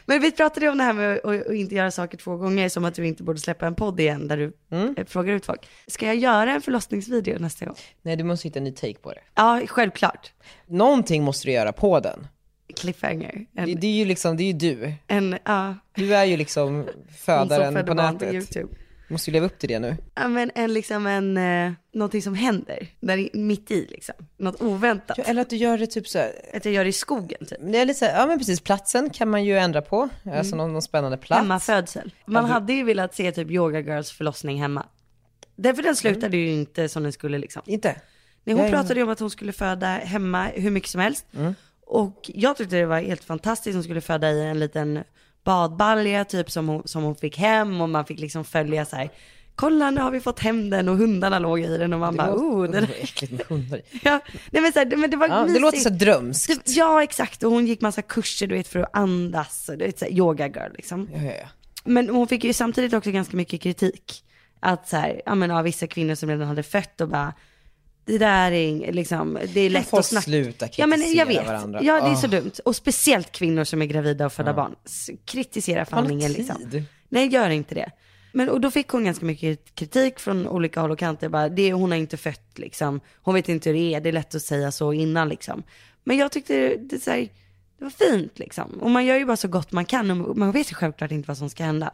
Speaker 6: Men vi pratade ju om det här med att, att att inte göra saker två gånger, som att du inte borde släppa en podd igen där du
Speaker 4: Mm.
Speaker 6: eh, frågar ut folk. Ska jag göra en förlossningsvideo nästa gång?
Speaker 4: Nej, du måste hitta en ny take på det.
Speaker 6: Ja, självklart.
Speaker 4: Någonting måste du göra på den.
Speaker 6: cliffhanger.
Speaker 4: Det,
Speaker 6: En,
Speaker 4: det är ju liksom, det är ju du.
Speaker 6: en, ja,
Speaker 4: Du är ju liksom
Speaker 6: hon som
Speaker 4: födaren
Speaker 6: födde
Speaker 4: på
Speaker 6: barn på
Speaker 4: nätet.
Speaker 6: YouTube.
Speaker 4: Måste ju leva upp till det nu.
Speaker 6: Ja, men en, liksom en, eh, någonting som händer, där i- mitt i liksom. Något oväntat.
Speaker 4: Ja, Eller att du gör det typ så här,
Speaker 6: Att jag gör det i skogen typ.
Speaker 4: det är lite så här, ja men precis, platsen kan man ju ändra på. Alltså någon, någon spännande plats.
Speaker 6: Hemmafödsel. Man hade ju velat se typ Yoga Girls förlossning hemma. Därför den slutade ju inte som den skulle liksom.
Speaker 4: Inte?
Speaker 6: Nej, hon
Speaker 4: Ja, Mm. ja.
Speaker 6: pratade ju om att hon skulle föda hemma hur mycket som helst. Och jag tyckte det var helt fantastiskt. Hon skulle föda i en liten badbalja typ som hon, som hon fick hem och man fick liksom följa så här. Kolla nu har vi fått hem den och hundarna låg i den och man bara oh. Den...
Speaker 4: Det är äckligt med hundar i.
Speaker 6: Ja, nej men, så här, det- men det var
Speaker 4: ja, Det
Speaker 6: mysigt.
Speaker 4: låter så drömskt.
Speaker 6: Typ, Ja exakt och hon gick massa kurser du vet för att andas och du vet så här, yoga girl liksom.
Speaker 4: Ja, ja, ja.
Speaker 6: Men hon fick ju samtidigt också ganska mycket kritik. Att så här, ja men av vissa kvinnor som redan hade fött och bara, det där är ing- liksom, det är lätt
Speaker 4: folk
Speaker 6: att snacka.
Speaker 4: sluta
Speaker 6: ja, men jag
Speaker 4: kritisera
Speaker 6: vet.
Speaker 4: varandra.
Speaker 6: Ja det är
Speaker 4: Ah.
Speaker 6: så dumt. Och speciellt kvinnor som är gravida och födda barn. S- Kritisera
Speaker 4: Har
Speaker 6: fan
Speaker 4: ni
Speaker 6: ingen
Speaker 4: tid?
Speaker 6: liksom. Nej gör inte det. Men och då fick hon ganska mycket kritik från olika håll och kanter. Bara, det, hon har inte fött liksom. Hon vet inte hur det är. Det är lätt att säga så innan liksom. Men jag tyckte det, det, så här, det var fint liksom. Och man gör ju bara så gott man kan. Och man vet ju självklart inte vad som ska hända.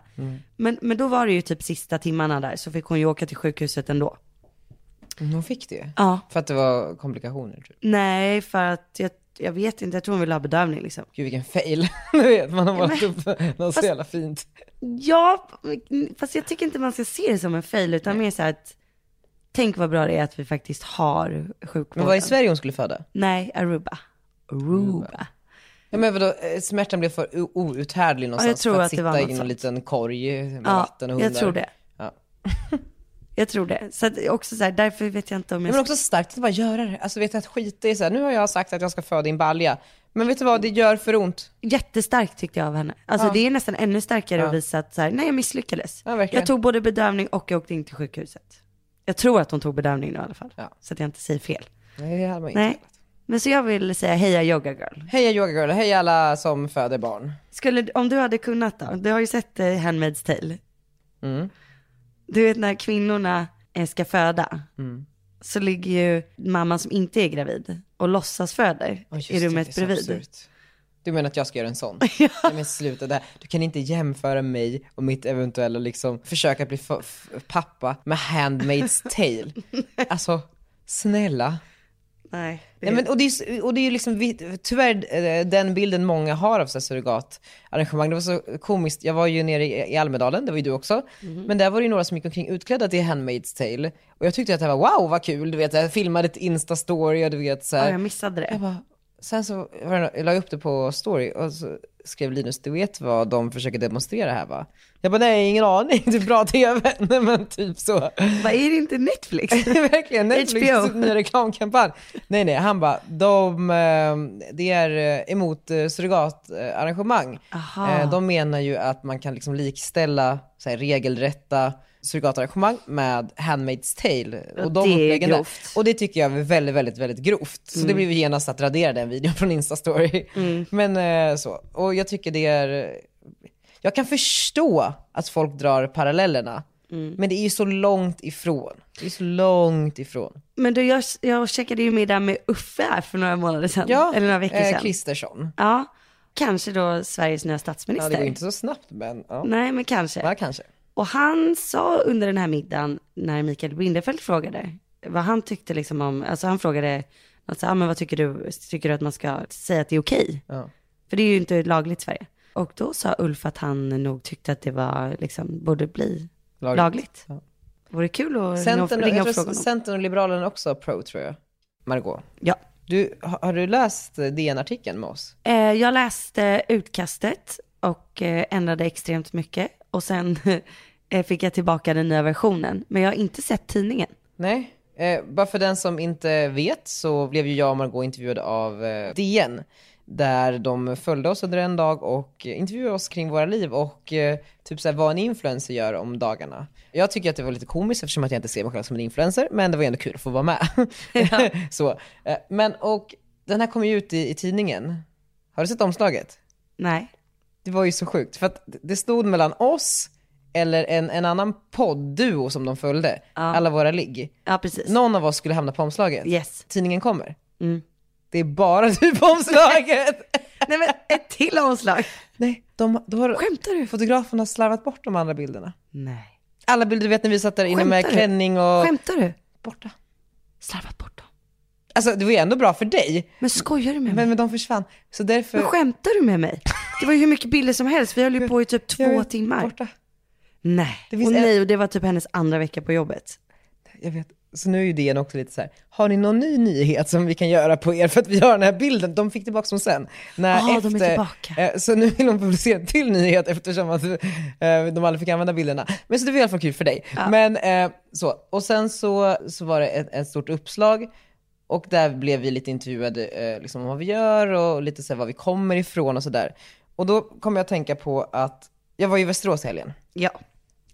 Speaker 6: Men, men då var det ju typ sista timmarna där. Så fick hon ju åka till sjukhuset ändå.
Speaker 4: Mm, Hon fick det?
Speaker 6: Ja.
Speaker 4: För att det var komplikationer? Typ.
Speaker 6: Nej för att jag, jag vet inte. Jag tror hon ville ha bedövning liksom.
Speaker 4: Gud vilken fail. Du vet, man har målat
Speaker 6: men-
Speaker 4: upp något så jävla fint.
Speaker 6: Ja, fast jag tycker inte man ska se det som en fail utan mer så här att tänk vad bra det är att vi faktiskt har sjukvården.
Speaker 4: Men var det i Sverige hon skulle föda?
Speaker 6: Nej, Aruba. Aruba.
Speaker 4: Ja men vadå, eh, smärtan blev för o- outhärdlig någonstans
Speaker 6: tror
Speaker 4: för att,
Speaker 6: att det
Speaker 4: sitta
Speaker 6: var
Speaker 4: i
Speaker 6: något
Speaker 4: någon
Speaker 6: sånt.
Speaker 4: liten korg med
Speaker 6: Ja,
Speaker 4: vatten och hundar.
Speaker 6: jag tror det.
Speaker 4: Ja.
Speaker 6: Jag tror det. Så att också så här, därför vet jag inte om
Speaker 4: Ja,
Speaker 6: jag...
Speaker 4: Men också starkt att bara göra det. Alltså vet du, att skita i så här, nu har jag sagt att jag ska föda i en balja. Men vet du vad, det gör för ont.
Speaker 6: Jättestarkt tyckte jag av henne. Alltså det är nästan ännu starkare att visa att så här, nej jag misslyckades.
Speaker 4: Ja, verkligen.
Speaker 6: jag tog både bedövning och jag åkte in till sjukhuset. Jag tror att hon tog bedövning nu i alla fall.
Speaker 4: Ja.
Speaker 6: Så att jag inte säger fel.
Speaker 4: Nej det hade man ju inte
Speaker 6: Nej. Men så jag vill säga heja yoga girl.
Speaker 4: Heja yoga girl, hej alla som föder barn.
Speaker 6: Skulle, om du hade kunnat då, du har ju sett eh, Handmaid's Tale.
Speaker 4: Mm.
Speaker 6: Du vet när kvinnorna eh, ska föda,
Speaker 4: Mm.
Speaker 6: så ligger ju mamman som inte är gravid och låtsas föder
Speaker 4: Ja, just
Speaker 6: i
Speaker 4: det,
Speaker 6: rummet
Speaker 4: det är så
Speaker 6: bredvid.
Speaker 4: absurt. Du menar att jag ska göra en sån? ja. Men sluta där. Du kan inte jämföra mig och mitt eventuella liksom försök att bli fa- f- pappa med Handmaid's tale. alltså, snälla.
Speaker 6: Nej, det
Speaker 4: Nej, men, och, det är, ju s- och det är ju liksom vi- tyvärr eh, den bilden många har av så här surrogatarrangemang. Det var så komiskt, jag var ju nere i, i Almedalen, det var ju du också.
Speaker 6: Mhm.
Speaker 4: Men där var det ju några som gick omkring utklädda till Handmaid's Tale. Och jag tyckte att det här var wow vad kul, du vet, jag filmade ett instastory och du vet så
Speaker 6: ja,
Speaker 4: här.
Speaker 6: jag missade det.
Speaker 4: Jag bara, sen så var det, jag la jag upp det på story och så skrev Linus, du vet vad de försöker demonstrera här va? Jag bara, nej ingen aning, det är bra tv. Nej, men typ så.
Speaker 6: Vad är det inte Netflix?
Speaker 4: Verkligen, Netflix
Speaker 6: HBO.
Speaker 4: nya reklamkampanj. Nej nej, han bara, de, eh, det är eh, emot eh, surrogatarrangemang.
Speaker 6: Aha.
Speaker 4: Eh, De menar ju att man kan liksom likställa så här, regelrätta surrogatarrangemang med Handmaid's Tale.
Speaker 6: Och
Speaker 4: de
Speaker 6: det är
Speaker 4: uppläggen där.
Speaker 6: grovt. Mm.
Speaker 4: Och det tycker jag är väldigt, väldigt, väldigt grovt. Så det blev ju genast att radera den videon från Instastory. Men eh, så. Och jag tycker det är... Jag kan förstå att folk drar parallellerna.
Speaker 6: Mm.
Speaker 4: Men det är ju så långt ifrån. Det är så långt ifrån.
Speaker 6: Men du, jag, jag checkade ju middag med Uffe här för några månader sedan, eller några veckor
Speaker 4: eh,
Speaker 6: sedan.
Speaker 4: Kristersson.
Speaker 6: ja, kanske då Sveriges nya
Speaker 4: Ja,
Speaker 6: statsminister.
Speaker 4: det går ju inte så snabbt men ja.
Speaker 6: Nej, men kanske.
Speaker 4: ja kanske.
Speaker 6: Och han sa under den här middagen, när Mikael Bindefeld frågade, vad han tyckte liksom om, alltså han frågade, alltså, ah, men vad tycker du, tycker du att man ska säga att det är okej?
Speaker 4: Ja.
Speaker 6: För det är ju inte lagligt i Sverige. Och då sa Ulf att han nog tyckte att det var, liksom, borde bli lagligt.
Speaker 4: Ja.
Speaker 6: Vore kul att
Speaker 4: Centern,
Speaker 6: ringa
Speaker 4: jag
Speaker 6: och
Speaker 4: tror
Speaker 6: fråga honom.
Speaker 4: Centern och Liberalerna också är pro tror jag. Margot.
Speaker 6: Ja.
Speaker 4: Du, har, har du läst DN-artikeln med oss?
Speaker 6: Eh, jag läste utkastet och eh, ändrade extremt mycket. Och sen eh, fick jag tillbaka den nya versionen. Men jag har inte sett tidningen.
Speaker 4: Nej. Eh, bara för den som inte vet så blev ju jag och Margot intervjuade av eh, DN. Där de följde oss under en dag och eh, intervjuade oss kring våra liv och eh, typ såhär vad en influencer gör om dagarna. Jag tycker att det var lite komiskt eftersom att jag inte ser mig själv som en influencer, men det var ändå kul att få vara med. så. Eh, men och den här kom ju ut i, i tidningen. Har du sett omslaget?
Speaker 6: Nej.
Speaker 4: Det var ju så sjukt, för att det stod mellan oss eller en, en annan poddduo som de följde, alla våra ligg.
Speaker 6: Ja, precis.
Speaker 4: Någon av oss skulle hamna på omslaget.
Speaker 6: Yes.
Speaker 4: Tidningen kommer. Det är bara du på omslaget.
Speaker 6: Mm. Nej men ett till omslag.
Speaker 4: Nej, de, då har
Speaker 6: Skämtar du?
Speaker 4: fotografen har slarvat bort de andra bilderna.
Speaker 6: Nej.
Speaker 4: Alla bilder du vet när vi satt där inne med
Speaker 6: Skämtar du?
Speaker 4: klänning och...
Speaker 6: Skämtar du?
Speaker 4: Borta.
Speaker 6: Slarvat bort dem.
Speaker 4: Alltså det var ju ändå bra för dig,
Speaker 6: Men skojar du med mig?
Speaker 4: men, men de försvann. Så därför...
Speaker 6: Men skämtar du med mig? Det var ju hur mycket bilder som helst. Vi höll ju på i typ
Speaker 4: Jag
Speaker 6: två
Speaker 4: vet,
Speaker 6: timmar.
Speaker 4: Borta.
Speaker 6: Nej.
Speaker 4: Det
Speaker 6: och
Speaker 4: finns en-
Speaker 6: nej, och det var typ hennes andra vecka på jobbet.
Speaker 4: Jag vet. Så nu är ju DN också lite så här, har ni någon ny nyhet som vi kan göra på er för att vi har den här bilden? De fick tillbaka dem sen. När
Speaker 6: Ah, de är tillbaka.
Speaker 4: Eh, Så nu vill de publicera en till nyhet eftersom att eh, de aldrig fick använda bilderna. Men så det var i alla fall kul för dig. Men eh, så, och sen så, så var det ett, ett stort uppslag och där blev vi lite intervjuade eh, liksom om vad vi gör och lite så här, var vi kommer ifrån och sådär. Och då kom jag att tänka på att jag var i Västerås i helgen.
Speaker 6: Ja,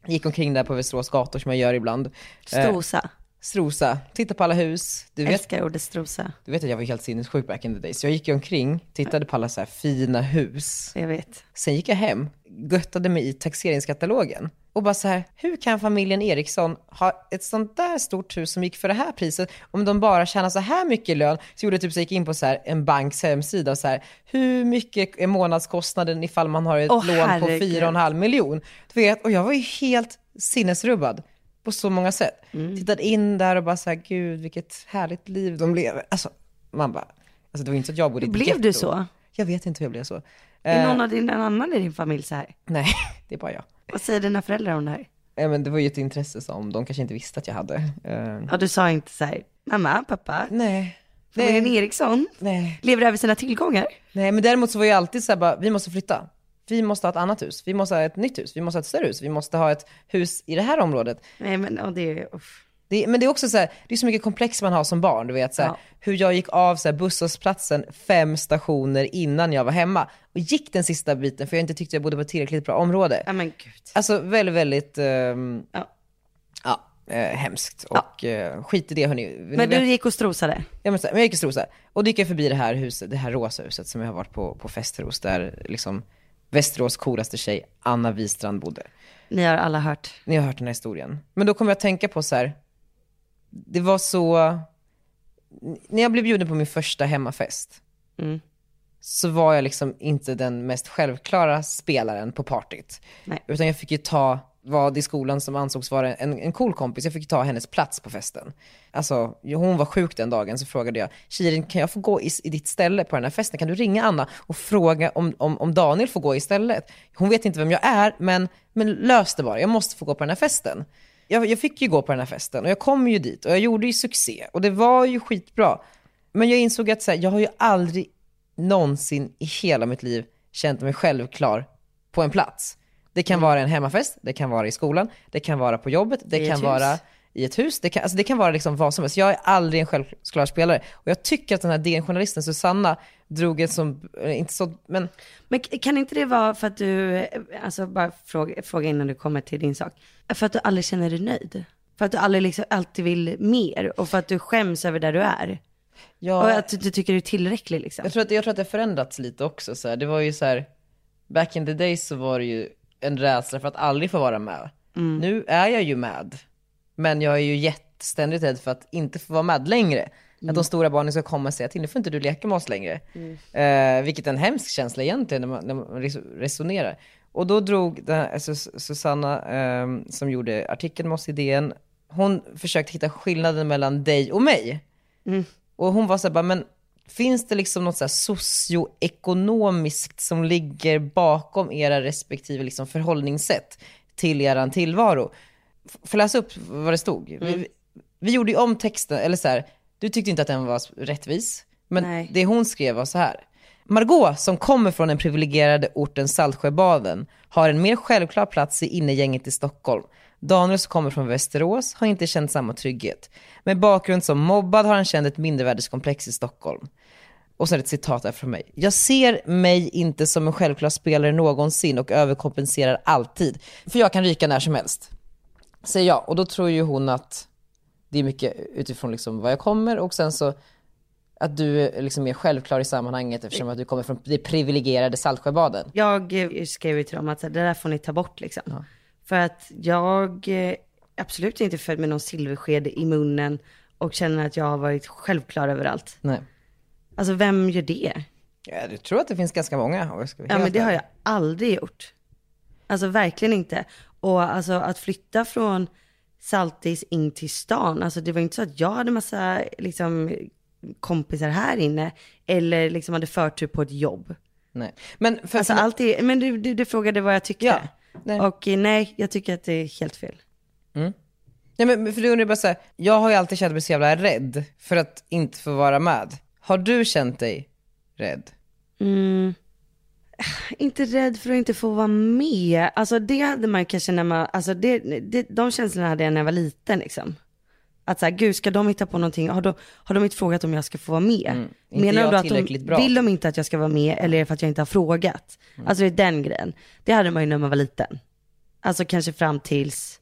Speaker 4: Gick omkring där på Västerås gator som jag gör ibland. Eh,
Speaker 6: strosa.
Speaker 4: Strosa, titta på alla hus. Du vet,
Speaker 6: Älskar ordet strosa.
Speaker 4: du vet att jag var helt sinnessjuk back in the day. Så jag gick ju omkring, tittade på alla så här fina hus.
Speaker 6: Jag vet.
Speaker 4: Sen gick jag hem, göttade mig i taxeringskatalogen och bara så här, hur kan familjen Eriksson ha ett sånt där stort hus som gick för det här priset om de bara tjänar så här mycket i lön? Så gjorde jag typ så jag gick in på så här en banks hemsida och så här, hur mycket är månadskostnaden ifall man har ett
Speaker 6: Åh,
Speaker 4: lån på
Speaker 6: herregud.
Speaker 4: 4,5 miljon? Du vet, och jag var ju helt sinnesrubbad på så många sätt.
Speaker 6: Mm.
Speaker 4: Tittade in där och bara så här, gud vilket härligt liv de lever. Alltså, man bara, alltså det var inte så att jag bodde i ett
Speaker 6: Blev du
Speaker 4: getto.
Speaker 6: så?
Speaker 4: Jag vet inte hur jag blev så.
Speaker 6: Är
Speaker 4: Eh,
Speaker 6: någon av din, en annan i din familj så här?
Speaker 4: Nej, det är bara jag.
Speaker 6: Vad säger dina föräldrar om det här?
Speaker 4: Nej, men det var ju ett intresse som de kanske inte visste att jag hade. Eh,
Speaker 6: Ja, du sa inte så här, mamma, pappa,
Speaker 4: nej.
Speaker 6: familjen
Speaker 4: Nej,
Speaker 6: Eriksson
Speaker 4: nej.
Speaker 6: lever över sina tillgångar.
Speaker 4: nej, men däremot så var jag alltid så här bara, vi måste flytta. Vi måste ha ett annat hus. Vi måste ha ett nytt hus. Vi måste ha ett större hus. Vi måste ha ett hus i det här området.
Speaker 6: Nej, men och det är, uff.
Speaker 4: Det, men det är också så här, det är så mycket komplex man har som barn. Du vet så här,
Speaker 6: Ja.
Speaker 4: hur jag gick av så här, busshållplatsen fem stationer innan jag var hemma. Och gick den sista biten för jag inte tyckte jag bodde på ett tillräckligt bra område.
Speaker 6: Ja, men gud.
Speaker 4: Alltså väldigt, väldigt ehm,
Speaker 6: Ja.
Speaker 4: ja, eh, hemskt. Och eh, skit i det hörni. Ni
Speaker 6: Men
Speaker 4: vet-
Speaker 6: du gick och strosade.
Speaker 4: Ja, men, så här, men jag gick i Strosa och då gick jag förbi det här huset, det här rosa huset som jag har varit på, på fest här hos, där liksom Västerås coolaste tjej, Anna Wistrand bodde.
Speaker 6: Ni har alla hört.
Speaker 4: Ni har hört den här historien. Men då kom jag att tänka på så här, det var så, när jag blev bjuden på min första hemmafest,
Speaker 6: Mm.
Speaker 4: så var jag liksom inte den mest självklara spelaren på partyt.
Speaker 6: Nej.
Speaker 4: Utan jag fick ju ta vad i skolan som ansågs vara en, en cool kompis, jag fick ju ta hennes plats på festen. Alltså, hon var sjuk den dagen, så frågade jag, Kirin kan jag få gå i, i ditt ställe på den här festen? Kan du ringa Anna och fråga om, om, om Daniel får gå istället? Hon vet inte vem jag är, men, men lös det bara, jag måste få gå på den här festen. Jag, jag fick ju gå på den här festen och jag kom ju dit och jag gjorde ju succé och det var ju skitbra. Men jag insåg att så här, jag har ju aldrig någonsin i hela mitt liv känt mig självklar på en plats. Det kan vara en hemmafest, det kan vara i skolan, det kan vara på jobbet, det
Speaker 6: Mm. I ett
Speaker 4: kan
Speaker 6: hus.
Speaker 4: vara i ett hus, det kan, alltså det kan vara liksom vad som helst. Jag är aldrig en självklar spelare. Och jag tycker att den här DN-journalisten Susanna drog ett som, eh, inte så, men
Speaker 6: Men k- kan inte det vara för att du, eh, alltså bara fråga, fråga innan du kommer till din sak. För att du aldrig känner dig nöjd? För att du aldrig liksom alltid vill mer och för att du skäms över där du är?
Speaker 4: jag...
Speaker 6: Och att du inte tycker du är tillräcklig liksom?
Speaker 4: Jag tror, att, jag tror att det har förändrats lite också. Så här. Det var ju så här, back in the days så var det ju en rädsla för att aldrig få vara med. Nu är jag ju med, men jag är ju jätteständigt rädd för att inte få vara med längre. Att de stora barnen ska komma och säga till, nu får inte du leka med oss längre. Eh, vilket är en hemsk känsla egentligen när man, när man res- resonerar. Och då drog den här, alltså, Sus- Susanna, ehm, som gjorde artikeln med oss i DN, hon försökte hitta skillnaden mellan dig och mig. Och hon var så här, bara, men finns det liksom något så här socioekonomiskt som ligger bakom era respektive liksom förhållningssätt till er tillvaro? F- Får jag läsa upp vad det stod? Vi, vi gjorde ju om texten, eller så här, du tyckte inte att den var s- rättvis, men
Speaker 6: Nej.
Speaker 4: det hon skrev var så här. Margot, som kommer från den privilegierade orten Saltsjöbaden, har en mer självklar plats i innegänget i Stockholm. Daniel, som kommer från Västerås, har inte känt samma trygghet. Med bakgrund som mobbad har han känt ett mindervärdeskomplex i Stockholm. Och så är det ett citat där från mig. Jag ser mig inte som en självklar spelare någonsin och överkompenserar alltid. För jag kan ryka när som helst. Säger jag. Och då tror ju hon att det är mycket utifrån liksom vad jag kommer och sen så att du är liksom mer självklar i sammanhanget eftersom att du kommer från det privilegierade Saltsjöbaden.
Speaker 6: Jag eh, skrev ju till dem att så här, det där får ni ta bort liksom. För att jag eh, absolut inte född med någon silversked i munnen och känner att jag har varit självklar överallt.
Speaker 4: Nej.
Speaker 6: Alltså vem gör det?
Speaker 4: Ja, du tror att det finns ganska många? om jag ska vara
Speaker 6: Ja
Speaker 4: helt
Speaker 6: men det har
Speaker 4: ärlig.
Speaker 6: jag aldrig gjort. Alltså verkligen inte. Och alltså att flytta från Saltis in till stan, alltså det var inte så att jag hade massa liksom kompisar här inne eller liksom hade förtur på ett jobb.
Speaker 4: Nej. Men för,
Speaker 6: Alltså allt är, men du, du, du frågade vad jag tyckte.
Speaker 4: Ja, nej.
Speaker 6: Och eh, nej, jag tycker att det är helt fel.
Speaker 4: nej, men för du undrar jag bara så här, jag har ju alltid känt mig så jävla rädd för att inte få vara med. Har du känt dig rädd?
Speaker 6: inte rädd för att inte få vara med. Alltså det hade man ju kanske när man, alltså det, det, de känslorna hade jag när jag var liten liksom. Att såhär, gud ska de hitta på någonting, har de, har de inte frågat om jag ska få vara med?
Speaker 4: Mm. Inte
Speaker 6: Menar
Speaker 4: jag
Speaker 6: de då att de,
Speaker 4: tillräckligt bra. Mm.
Speaker 6: vill de inte att jag ska vara med eller är det för att jag inte har frågat? Alltså det är den grejen. Det hade man ju när man var liten. Alltså kanske fram tills,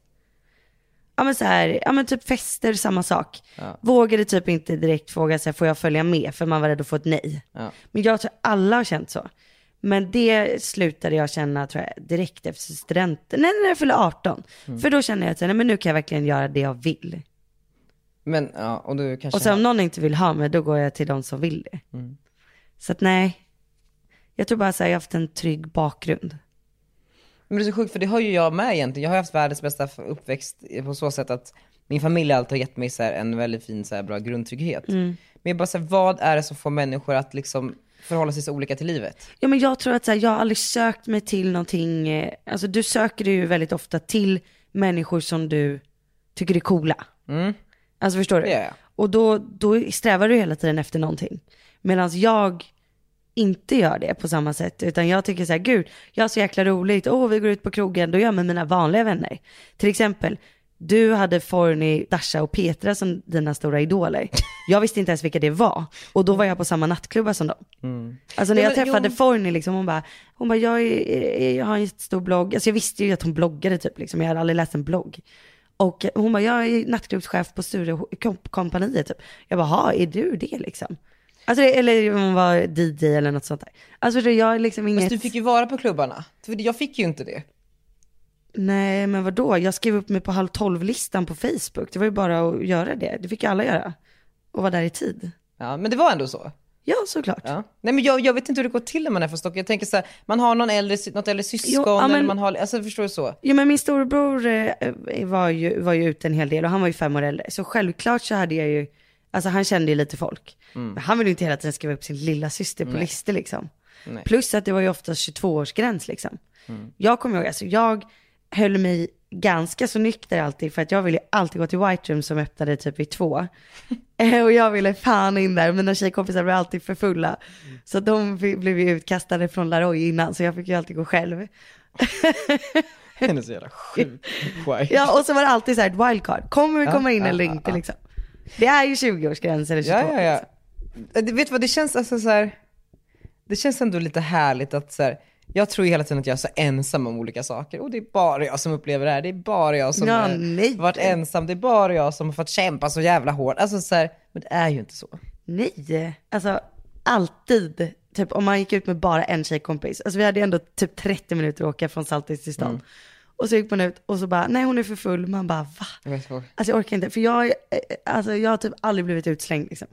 Speaker 6: ja men så här, ja men typ fester, samma sak. Vågade typ inte direkt fråga sig får jag följa med? För man var rädd att få ett nej. Men jag tror alla har känt så. Men det slutade jag känna tror jag direkt efter studenten, nej när jag fyllde 18. För då kände jag att så här, nej, men nu kan jag verkligen göra det jag vill.
Speaker 4: Men ja, och du kanske...
Speaker 6: Och sen om någon inte vill ha mig, då går jag till de som vill det. Så att nej, jag tror bara så här, jag har haft en trygg bakgrund.
Speaker 4: Men det är så sjukt för det har ju jag med egentligen. Jag har ju haft världens bästa f- uppväxt på så sätt att min familj alltid har gett mig så här en väldigt fin så här bra grundtrygghet.
Speaker 6: Mm.
Speaker 4: Men jag bara så här, vad är det som får människor att liksom förhålla sig så olika till livet?
Speaker 6: Ja men jag tror att så här, jag har aldrig sökt mig till någonting, eh, alltså du söker dig ju väldigt ofta till människor som du tycker är coola.
Speaker 4: Mm.
Speaker 6: Alltså förstår du?
Speaker 4: Det gör jag.
Speaker 6: Och då, då strävar du hela tiden efter någonting. Medan jag inte gör det på samma sätt. Utan jag tycker så här, gud, jag har så jäkla roligt. Åh, vi går ut på krogen, då gör jag med mina vanliga vänner. Till exempel, du hade Forni, Dasha och Petra som dina stora idoler. Jag visste inte ens vilka det var. Och då var jag på samma nattklubbar som dem. Alltså
Speaker 4: Mm. Ja,
Speaker 6: när jag
Speaker 4: men-
Speaker 6: träffade
Speaker 4: jo.
Speaker 6: Forni, liksom, hon bara, hon bara jag, är, jag har en jättestor blogg. Alltså jag visste ju att hon bloggade typ, liksom. jag hade aldrig läst en blogg. Och hon bara, jag är nattklubbschef på Sturecompagniet typ. Jag bara, ha, är du det liksom? Alltså, det- eller om hon var DJ eller något sånt där. Alltså det, jag är liksom inget...
Speaker 4: Fast du fick ju vara på klubbarna. För jag fick ju inte det.
Speaker 6: Nej men vadå, jag skrev upp mig på halv tolv-listan på Facebook. Det var ju bara att göra det. Det fick ju alla göra. Och vara där i tid.
Speaker 4: Ja, men det var ändå så.
Speaker 6: Ja, såklart.
Speaker 4: Ja. Nej men jag, jag vet inte hur det går till när man är från Stockholm. Jag tänker så här, man har någon äldre, sy- något äldre syskon
Speaker 6: Jo, ja,
Speaker 4: eller
Speaker 6: men-
Speaker 4: man har, alltså förstår du så?
Speaker 6: Jo men min storebror eh, var, ju, var ju ute en hel del och han var ju fem år äldre. Så självklart så hade jag ju, alltså han kände ju lite folk. Men han ville ju inte hela tiden skriva upp sin lilla syster på listor liksom. Plus att det var ju oftast 22-årsgräns liksom. Jag kommer ihåg, alltså jag höll mig ganska så nykter alltid för att jag ville alltid gå till White Room som öppnade typ vid två. Eh, Och jag ville fan in där, mina tjejkompisar blev alltid för fulla. Så att de fi- blev ju utkastade från Laroy innan, så jag fick ju alltid gå själv.
Speaker 4: Den är så jävla sjuk. Ja,
Speaker 6: Ja, och så var det alltid så här ett wildcard. Kommer vi komma in
Speaker 4: ja,
Speaker 6: eller
Speaker 4: ja,
Speaker 6: inte
Speaker 4: ja.
Speaker 6: liksom. Det är ju 20-årsgräns eller 22.
Speaker 4: ja, ja.
Speaker 6: liksom.
Speaker 4: Eh, det- Vet du vad, det känns alltså så här, det känns ändå lite härligt att så här, jag tror ju hela tiden att jag är så ensam om olika saker. Och det är bara jag som upplever det här. Det är bara jag som
Speaker 6: Ja,
Speaker 4: har
Speaker 6: nej.
Speaker 4: varit ensam. Det är bara jag som har fått kämpa så jävla hårt. Alltså så här, men det är ju inte så.
Speaker 6: Nej, alltså alltid. Typ om man gick ut med bara en tjejkompis. Alltså vi hade ju ändå typ 30 minuter att åka från Saltis till stan.
Speaker 4: Mm.
Speaker 6: Och så gick man ut och så bara, nej hon är för full. Man bara, va?
Speaker 4: Jag vet vad.
Speaker 6: Alltså jag orkar inte. För jag, eh, alltså, jag har typ aldrig blivit utslängd liksom.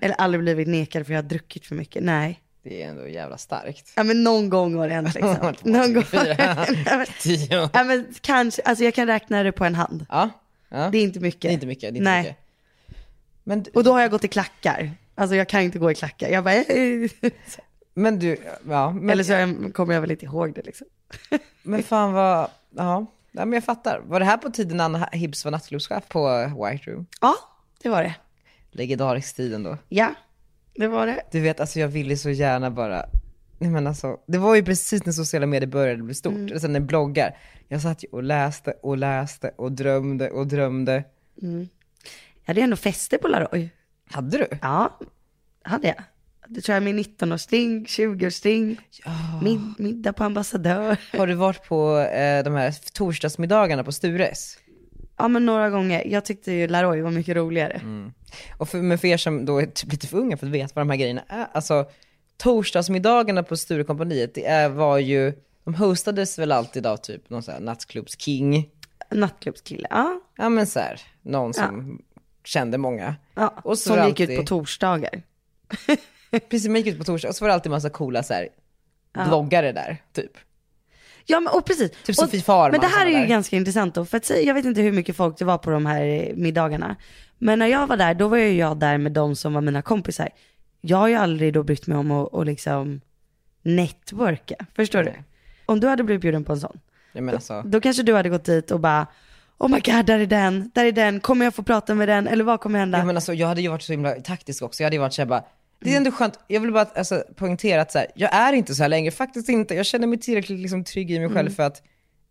Speaker 6: Eller aldrig blivit nekad för jag har druckit för mycket. Nej.
Speaker 4: Det är ändå jävla starkt.
Speaker 6: Ja men någon gång har det hänt liksom. någon gång. Nej, men-
Speaker 4: Tio.
Speaker 6: Ja men kanske, alltså jag kan räkna det på en hand.
Speaker 4: Ja, ja.
Speaker 6: Det är inte mycket.
Speaker 4: Det är inte mycket. Det är inte
Speaker 6: Nej.
Speaker 4: mycket. Men, du-
Speaker 6: Och då har jag gått i klackar. Alltså jag kan inte gå i klackar. Jag bara, eh.
Speaker 4: men du, ja. Men,
Speaker 6: Eller så har jag- kommer jag väl inte ihåg det liksom.
Speaker 4: Men fan vad, ja. ja men jag fattar. Var det här på tiden Anna Hibbs var nattklubbschef på White Room?
Speaker 6: Ja, det var det.
Speaker 4: Legendarisk tid ändå.
Speaker 6: Ja, det var det.
Speaker 4: Du vet, alltså jag ville så gärna bara, nej men alltså, det var ju precis när sociala medier började bli stort, mm. sen när bloggar. Jag satt ju och läste och läste och drömde och drömde.
Speaker 6: Jag hade ju ändå fester på Laroy.
Speaker 4: Hade du?
Speaker 6: Ja, hade jag. Det tror jag min 19-årsring, 20-årsring, mid- middag på ambassadör.
Speaker 4: Har du varit på eh, de här torsdagsmiddagarna på Stures?
Speaker 6: Ja men några gånger. Jag tyckte ju Laroy var mycket roligare.
Speaker 4: Mm. Och för, men för er som då är typ lite för unga för att veta vad de här grejerna är, alltså torsdagsmiddagarna på Sturecompagniet, det är, var ju, de hostades väl alltid av typ någon sån här nattklubbsking,
Speaker 6: Nattklubbskille, ja.
Speaker 4: ja men så här, någon som kände många.
Speaker 6: ja.
Speaker 4: Och så
Speaker 6: Som
Speaker 4: var
Speaker 6: gick ut
Speaker 4: alltid-
Speaker 6: på torsdagar.
Speaker 4: Precis, man gick ut på torsdag och så var det alltid massa coola så här, bloggare där, typ.
Speaker 6: Ja men och precis.
Speaker 4: Typ
Speaker 6: och,
Speaker 4: Sofie Farman
Speaker 6: Men det här
Speaker 4: som var
Speaker 6: är ju
Speaker 4: där.
Speaker 6: ganska intressant då, för att, säga- jag vet inte hur mycket folk det var på de här eh, middagarna. Men när jag var där, då var ju jag där med de som var mina kompisar. Jag har ju aldrig då brytt mig om att att liksom networka, förstår
Speaker 4: Mm.
Speaker 6: du? Om du hade blivit bjuden på en sån,
Speaker 4: Jag menar alltså, så.
Speaker 6: då kanske du hade gått dit och bara Oh my god, där är den, där är den, kommer jag få prata med den eller vad kommer hända?
Speaker 4: Jag, menar så, jag hade ju varit så himla taktisk också. Jag hade ju varit så här bara, det
Speaker 6: Mm.
Speaker 4: är ändå skönt, jag vill bara alltså, poängtera att så här, jag är inte så här längre, faktiskt inte. Jag känner mig tillräckligt liksom, trygg i mig
Speaker 6: Mm.
Speaker 4: själv för att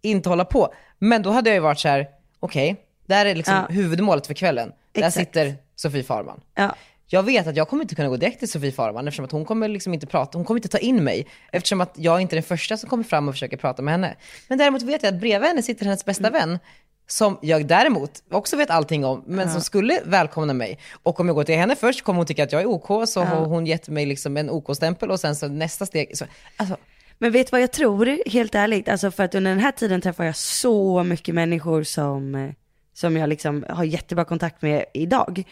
Speaker 4: inte hålla på. Men då hade jag ju varit så här, okej, det här är liksom
Speaker 6: Ja.
Speaker 4: huvudmålet för kvällen.
Speaker 6: Exakt.
Speaker 4: Där sitter Sofie Farman.
Speaker 6: Ja.
Speaker 4: Jag vet att jag kommer inte kunna gå direkt till Sofie Farman eftersom att hon kommer liksom inte prata, hon kommer inte ta in mig. Eftersom att jag inte är den första som kommer fram och försöker prata med henne. Men däremot vet jag att bredvid henne sitter hennes bästa vän. Som jag däremot också vet allting om, men som skulle välkomna mig. Och om jag går till henne först kommer hon tycka att jag är OK, så har hon gett mig liksom en OK-stämpel och sen så nästa steg. Så, alltså,
Speaker 6: Men vet du vad jag tror, helt ärligt? Alltså för att under den här tiden träffar jag så mycket människor som, eh, som jag liksom har jättebra kontakt med idag.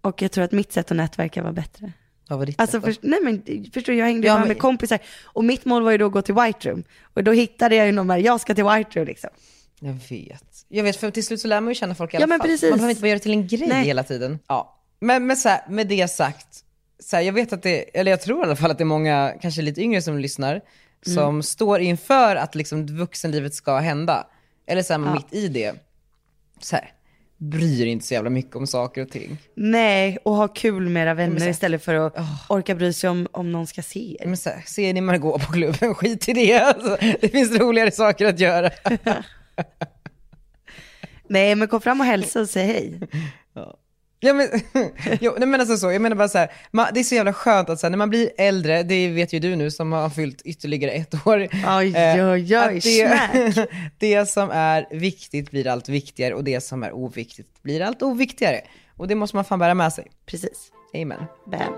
Speaker 6: Och jag tror att mitt sätt att nätverka var bättre.
Speaker 4: vad var ditt
Speaker 6: Alltså
Speaker 4: sätt då?
Speaker 6: för, nej men förstår du, jag hängde
Speaker 4: Ja,
Speaker 6: bara
Speaker 4: men-
Speaker 6: med kompisar. Och mitt mål var ju då att gå till White Room. Och då hittade jag ju någon där, jag ska till White Room liksom.
Speaker 4: Jag vet. Jag vet, för till slut så lär man ju känna folk i alla
Speaker 6: Ja, men
Speaker 4: fall.
Speaker 6: precis.
Speaker 4: Man behöver inte bara göra det till en grej
Speaker 6: Nej.
Speaker 4: hela tiden. Ja. Men, men så här, med det sagt, så här, jag vet att det, eller jag tror i alla fall att det är många, kanske lite yngre som lyssnar,
Speaker 6: Mm.
Speaker 4: som står inför att liksom vuxenlivet ska hända. Eller så här, man mitt i det. Så här, bryr inte så jävla mycket om saker och ting.
Speaker 6: Nej, och ha kul med era vänner istället för att orka bry sig om, om någon ska se er.
Speaker 4: Men så här, ser ni Margot på klubben, skit i det. Alltså, det finns roligare saker att göra.
Speaker 6: Nej men kom fram och hälsa och säg hej.
Speaker 4: Ja men, jo, nej, men alltså så, jag menar bara så här, man, det är så jävla skönt att så här, när man blir äldre, det vet ju du nu som har fyllt ytterligare ett år.
Speaker 6: Oj,
Speaker 4: eh,
Speaker 6: oj, oj,
Speaker 4: att det,
Speaker 6: snack.
Speaker 4: det som är viktigt blir allt viktigare och det som är oviktigt blir allt oviktigare. Och det måste man fan bära med sig.
Speaker 6: Precis,
Speaker 4: Amen.
Speaker 6: bam.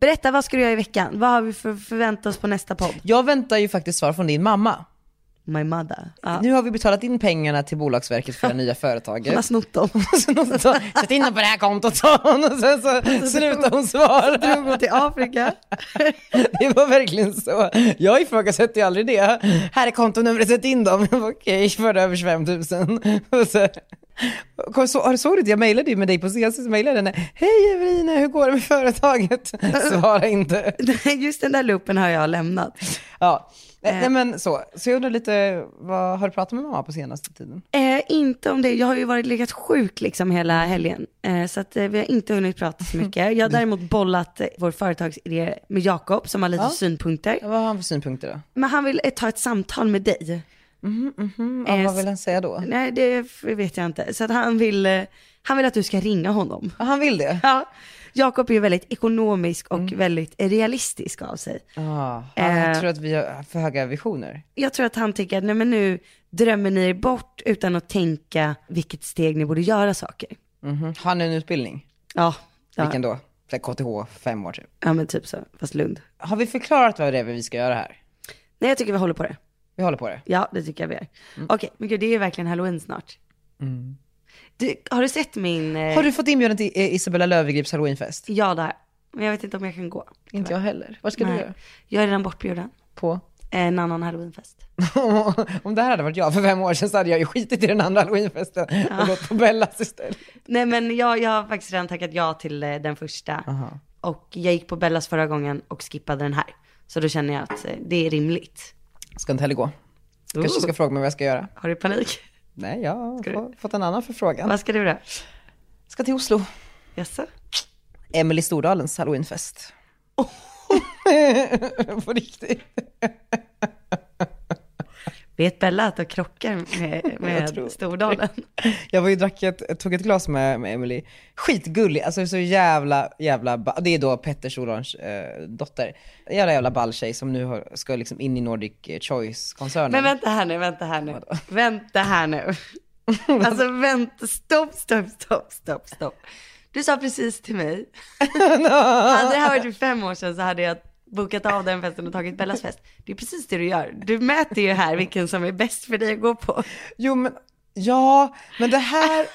Speaker 6: Berätta, vad ska du göra i veckan? Vad har vi för förvänta oss på nästa podd?
Speaker 4: Jag väntar ju faktiskt svar från din mamma.
Speaker 6: My mother. Ja.
Speaker 4: Nu har vi betalat in pengarna till Bolagsverket för det nya företaget.
Speaker 6: Hon har snott dem.
Speaker 4: Så någon sa, Sätt in dem på det här kontot sa hon och sen så slutade hon svara.
Speaker 6: Drog hon till Afrika.
Speaker 4: Det var verkligen så. Jag ifrågasätter ju aldrig det. Här är kontonumret, sätt in dem. Jag bara, Okej, förde över 25 000. Och så, kom, så, har du såg du det? Jag mejlade ju med dig på CS, så mejlade jag henne. Hej Evelina, hur går det med företaget? Svara inte.
Speaker 6: Just den där loopen har jag lämnat.
Speaker 4: Ja. Nej, nej, men så. Så jag undrar lite, vad, har du pratat med mamma på senaste tiden?
Speaker 6: Eh, inte om det, jag har ju varit legat sjuk liksom hela helgen. Eh, så att eh, vi har inte hunnit prata så mycket. Jag har däremot bollat eh, vår företagsidé med Jakob som har lite synpunkter.
Speaker 4: Vad har han för synpunkter då?
Speaker 6: Men han vill eh, ta ett samtal med dig.
Speaker 4: Mhm, Ja,
Speaker 6: Eh,
Speaker 4: vad vill han säga då?
Speaker 6: Nej, det f- vet jag inte. Så att han vill, eh, han vill att du ska ringa honom.
Speaker 4: Ja, Han vill det?
Speaker 6: Ja. Jakob är ju väldigt ekonomisk och väldigt realistisk av sig.
Speaker 4: Mm. Ja, han
Speaker 6: Eh.
Speaker 4: tror att vi har för höga visioner.
Speaker 6: Jag tror att han tänker att nej men nu drömmer ni er bort utan att tänka vilket steg ni borde göra saker.
Speaker 4: Mhm. Har han en utbildning?
Speaker 6: Ja, ja,
Speaker 4: Vilken då? Så här KTH, fem år typ.
Speaker 6: ja men typ så, fast Lund.
Speaker 4: Har vi förklarat vad det är vi ska göra här?
Speaker 6: Nej jag tycker vi håller på det.
Speaker 4: Vi håller på det.
Speaker 6: Ja det tycker jag vi gör.
Speaker 4: Mm.
Speaker 6: Okej, men gud det är ju verkligen halloween snart. Du, har du sett min... eh,
Speaker 4: Har du fått inbjudan till eh, Isabella Löwengrips halloweenfest?
Speaker 6: Ja det har jag. Men jag vet inte om jag kan gå.
Speaker 4: Inte jag heller. Vad ska
Speaker 6: Nej. Jag är redan bortbjuden.
Speaker 4: På?
Speaker 6: En annan halloweenfest.
Speaker 4: Om det här hade varit jag för fem år sedan så hade jag ju skitit i den andra halloweenfesten och gått på Bellas istället.
Speaker 6: Nej men jag, jag har faktiskt redan tackat ja till eh, den första. Och jag gick på Bellas förra gången och skippade den här. Så då känner jag att eh, det är rimligt.
Speaker 4: Ska inte heller gå. Kanske ska fråga mig vad jag ska göra.
Speaker 6: Har du panik?
Speaker 4: Nej, jag har
Speaker 6: Ska du-
Speaker 4: få- fått en annan förfrågan.
Speaker 6: Vad ska du då?
Speaker 4: Ska till Oslo.
Speaker 6: Jaså?
Speaker 4: Emily Stordalens halloweenfest. Oh. på riktigt.
Speaker 6: Vet Bella att du krockar med, med Stordalen?
Speaker 4: Jag var ju drack ett, tog ett glas med, med Emily. Skitgullig, alltså så jävla, jävla, ba- det är då Petter Solans eh, dotter. Jävla jävla balltjej som nu har, ska liksom in i Nordic Choice-koncernen.
Speaker 6: Men vänta här nu, vänta här nu. Vänta här nu. Alltså vänta, stopp, stopp, stopp, stopp, stopp. Du sa precis till mig. Hade det här varit för fem år sedan så hade jag bokat av den festen och tagit Bellas fest. Det är precis det du gör. Du mäter ju här vilken som är bäst för dig att gå på.
Speaker 4: Jo men Ja, men det här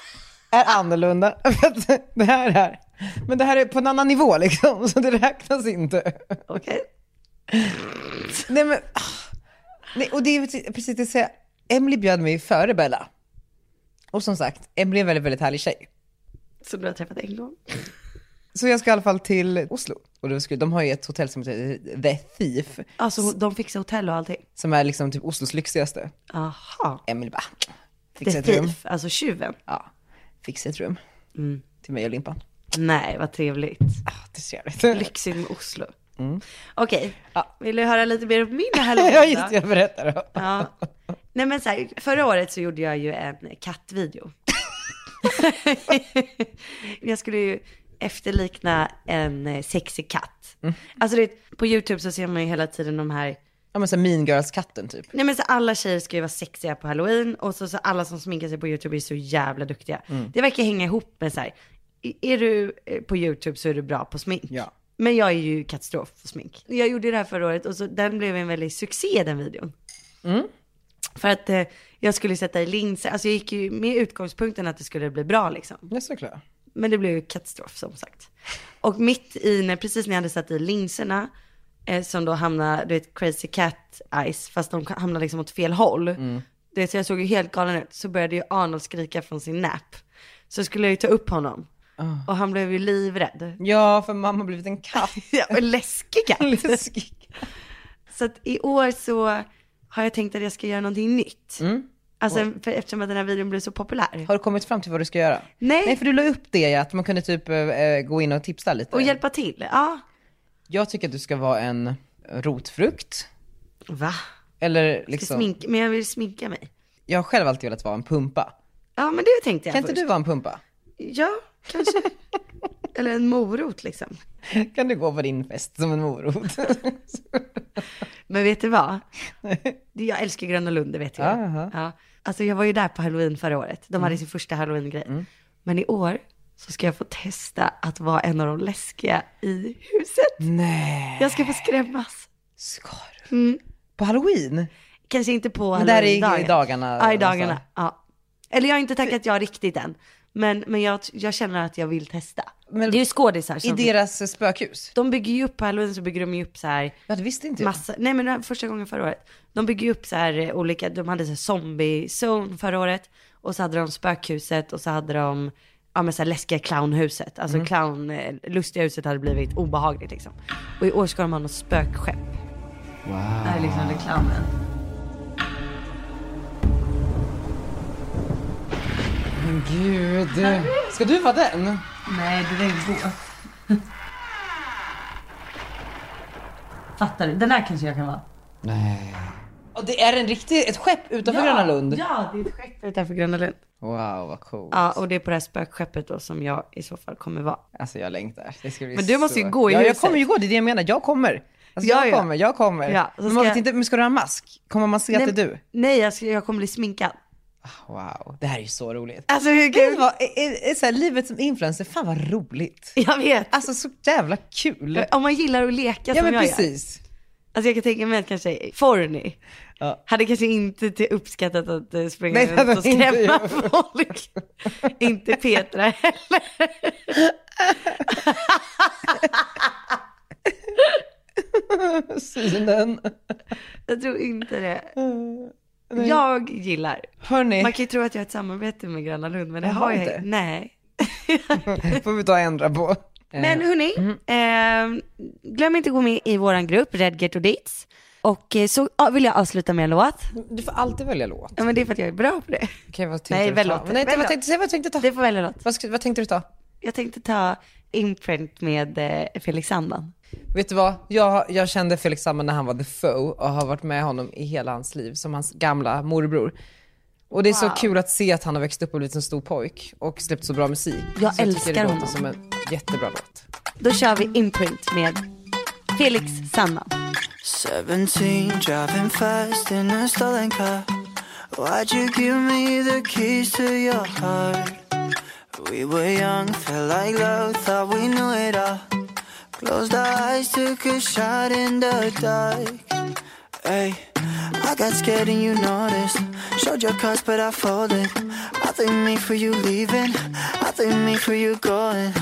Speaker 4: är annorlunda. det här är, men det här är på en annan nivå liksom, så det räknas inte.
Speaker 6: Okej.
Speaker 4: Nej men, ah. nej, och det är precis- precis det jag säger. Emily bjöd mig före Bella. Och som sagt, Emily är en väldigt, väldigt härlig tjej.
Speaker 6: Som du har träffat en gång.
Speaker 4: Så jag ska i alla fall till Oslo. Och då skulle, de har ju ett hotell som heter The Thief,
Speaker 6: Alltså hon- de fixar hotell och allting.
Speaker 4: som är liksom typ Oslos lyxigaste.
Speaker 6: Aha.
Speaker 4: Emily bara, fixa
Speaker 6: The
Speaker 4: ett rum.
Speaker 6: thief, Mm. alltså tjuven.
Speaker 4: Ja, fixa ett rum. Till mig och Limpan.
Speaker 6: Nej, vad trevligt.
Speaker 4: Ah, det är så jävligt.
Speaker 6: Lyxigt med Oslo. Okej, vill du höra lite mer om min halloween
Speaker 4: Ja
Speaker 6: då?
Speaker 4: just det, jag berättar då.
Speaker 6: Ja. Nej men så här, förra året så gjorde jag ju en kattvideo. jag skulle ju efterlikna en eh, sexig katt. Alltså det, på YouTube så ser man ju hela tiden de här,
Speaker 4: Ja men så här mean girls-katten typ.
Speaker 6: nej men så alla tjejer ska ju vara sexiga på halloween och så, så alla som sminkar sig på YouTube är så jävla duktiga. Det verkar hänga ihop med så här, i- är du eh, på YouTube så är du bra på smink.
Speaker 4: Ja.
Speaker 6: Men jag är ju katastrof på smink. Jag gjorde det här förra året och så den blev en väldig succé den videon. För att eh, jag skulle sätta i linser, alltså jag gick ju med utgångspunkten att det skulle bli bra liksom.
Speaker 4: Ja såklart.
Speaker 6: Men det blev ju katastrof som sagt. Och mitt i, när, precis när jag hade satt i linserna, eh, som då hamnade, du vet crazy cat eyes, fast de hamnade liksom åt fel håll. Du vet, så jag såg ju helt galen ut, så började ju Arnold skrika från sin nap. Så skulle jag ju ta upp honom. Och han blev ju livrädd.
Speaker 4: Ja för mamma har blivit en katt.
Speaker 6: Ah. Ja, och läskig katt.
Speaker 4: Läskig.
Speaker 6: Så att i år så har jag tänkt att jag ska göra någonting nytt. Alltså för, eftersom att den här videon blev så populär.
Speaker 4: Har du kommit fram till vad du ska göra?
Speaker 6: Nej.
Speaker 4: Nej för du la upp det ja, att man kunde typ eh, gå in och tipsa lite.
Speaker 6: Och hjälpa till. Ja.
Speaker 4: Jag tycker att du ska vara en rotfrukt.
Speaker 6: Va?
Speaker 4: Eller
Speaker 6: Jag ska
Speaker 4: liksom,
Speaker 6: sminka, men jag vill sminka mig.
Speaker 4: jag har själv alltid velat vara en pumpa.
Speaker 6: Ja men det tänkte jag
Speaker 4: Kan inte
Speaker 6: först.
Speaker 4: du vara en pumpa?
Speaker 6: Ja, kanske. Eller en morot liksom.
Speaker 4: Kan du gå på din fest som en morot?
Speaker 6: Men vet du vad? Det- Jag älskar Gröna Lund, det vet jag.
Speaker 4: Aha.
Speaker 6: Ja. Alltså jag var ju där på halloween förra året. De
Speaker 4: Mm.
Speaker 6: hade sin första halloween-grej. Men i år så ska jag få testa att vara en av de läskiga i huset.
Speaker 4: Nej.
Speaker 6: Jag ska få skrämmas.
Speaker 4: Ska du? På halloween?
Speaker 6: Kanske inte på
Speaker 4: Men det här är i
Speaker 6: halloween-dagen.
Speaker 4: dagarna alltså.
Speaker 6: Ja, i
Speaker 4: någonstans.
Speaker 6: dagarna. Ja. Eller jag har inte tackat ja riktigt än. Men, men jag, jag känner att jag vill testa.
Speaker 4: Men-
Speaker 6: det är ju skådisar
Speaker 4: I
Speaker 6: som...
Speaker 4: deras eh, spökhus?
Speaker 6: De bygger ju upp på halloween så bygger de ju upp så här
Speaker 4: Ja det visste inte jag.
Speaker 6: massa, nej men det här var första gången förra året. De bygger ju upp så här eh, olika, de hade så här zombie-zone förra året. Och så hade de spökhuset och så hade de, ja men så här läskiga clownhuset. Alltså
Speaker 4: Mm.
Speaker 6: clown, eh, lustiga huset hade blivit obehagligt liksom. Och i år ska de ha något spökskepp. Wow. Där är liksom det clownen.
Speaker 4: Men gud. Ska du vara den?
Speaker 6: Nej, det där är ju båt. Fattar du? Den här kanske jag kan vara.
Speaker 4: Och det är en riktig, ett skepp utanför Gröna Lund?
Speaker 6: Ja, det är ett skepp utanför Gröna Lund.
Speaker 4: Wow vad coolt.
Speaker 6: Ja, och det är på det här spökskeppet då som jag i så fall kommer vara.
Speaker 4: Alltså jag längtar. Det ska bli
Speaker 6: Men du måste ju
Speaker 4: så-
Speaker 6: gå i
Speaker 4: ja,
Speaker 6: huset.
Speaker 4: jag kommer ju gå, det är det jag menar. Jag kommer. Alltså,
Speaker 6: Ja,
Speaker 4: jag
Speaker 6: ja.
Speaker 4: kommer, jag kommer.
Speaker 6: Ja, så
Speaker 4: men
Speaker 6: ska
Speaker 4: man
Speaker 6: jag-
Speaker 4: vet inte, men ska du ha en mask? Kommer man se att det är du?
Speaker 6: Nej, jag, ska, jag kommer bli sminkad.
Speaker 4: Wow, det här är ju så roligt.
Speaker 6: Alltså hur
Speaker 4: Gud
Speaker 6: kul?
Speaker 4: vad, är, är, är så här, livet som influencer, fan vad roligt.
Speaker 6: Jag vet.
Speaker 4: Alltså så jävla kul.
Speaker 6: Om man gillar att leka
Speaker 4: Ja
Speaker 6: som
Speaker 4: men
Speaker 6: jag gör.
Speaker 4: precis.
Speaker 6: Alltså jag kan tänka mig att kanske Forny
Speaker 4: Ja.
Speaker 6: hade kanske inte till uppskattat att eh, springa
Speaker 4: Nej, det hade
Speaker 6: runt och
Speaker 4: inte
Speaker 6: skrämma
Speaker 4: jag.
Speaker 6: folk. inte Petra heller.
Speaker 4: Synen.
Speaker 6: Jag tror inte det. Jag gillar.
Speaker 4: Eh, Hörni,
Speaker 6: Man kan ju tro att jag har ett samarbete med Gröna Lund men det
Speaker 4: Jag
Speaker 6: har
Speaker 4: har
Speaker 6: jag
Speaker 4: inte.
Speaker 6: inte. Nej.
Speaker 4: får vi ta och ändra på.
Speaker 6: Men hörni,
Speaker 4: mm.
Speaker 6: eh, glöm inte att gå med i våran grupp Redgert och Dates. Och eh, så ah, vill jag avsluta med en låt.
Speaker 4: Du får alltid välja låt.
Speaker 6: Ja men det är för att jag är bra på det.
Speaker 4: Okej, vad tänkte
Speaker 6: Nej,
Speaker 4: du
Speaker 6: väl
Speaker 4: ta?
Speaker 6: låt.
Speaker 4: Nej,
Speaker 6: Väl
Speaker 4: vad
Speaker 6: låt.
Speaker 4: tänkte, säg vad du tänkte ta.
Speaker 6: Du får välja låt.
Speaker 4: Vad, ska- vad tänkte du ta?
Speaker 6: Jag tänkte ta Imprint med eh, Felix Sandman.
Speaker 4: Vet du vad? Jag, jag kände Felix Sandman när han var The Foe och har varit med honom i hela hans liv som hans gamla morbror. Och det är så kul att se att han har växt upp och blivit en stor pojk och släppt så bra musik.
Speaker 6: Jag
Speaker 4: så tycker
Speaker 6: älskar
Speaker 4: det låter
Speaker 6: honom.
Speaker 4: som en jättebra låt.
Speaker 6: Då kör vi Imprint med Felix Sandman.
Speaker 8: 17, driving fast in a stolen car. Why'd you give me the keys to your heart? We were young, felt like love, thought we knew it all. Closed our eyes, took a shot in the dark. Hey, I I got scared and you noticed. Showed your cards, but I folded. I thank me for you leaving. I thank me for you going.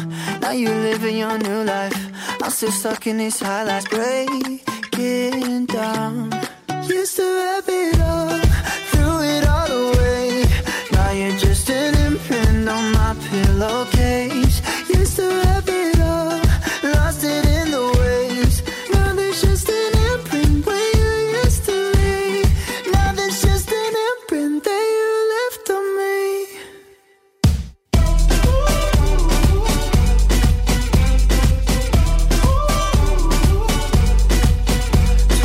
Speaker 8: Now you living your new life. I'm still stuck in these highlights. Breaking down. Used to have it all. Threw it all away. Now you're just an imprint on my pillowcase. Used to have it all. Lost it in the waves. Now there's just an imprint where you used to be. Now there's just an imprint that you left on me.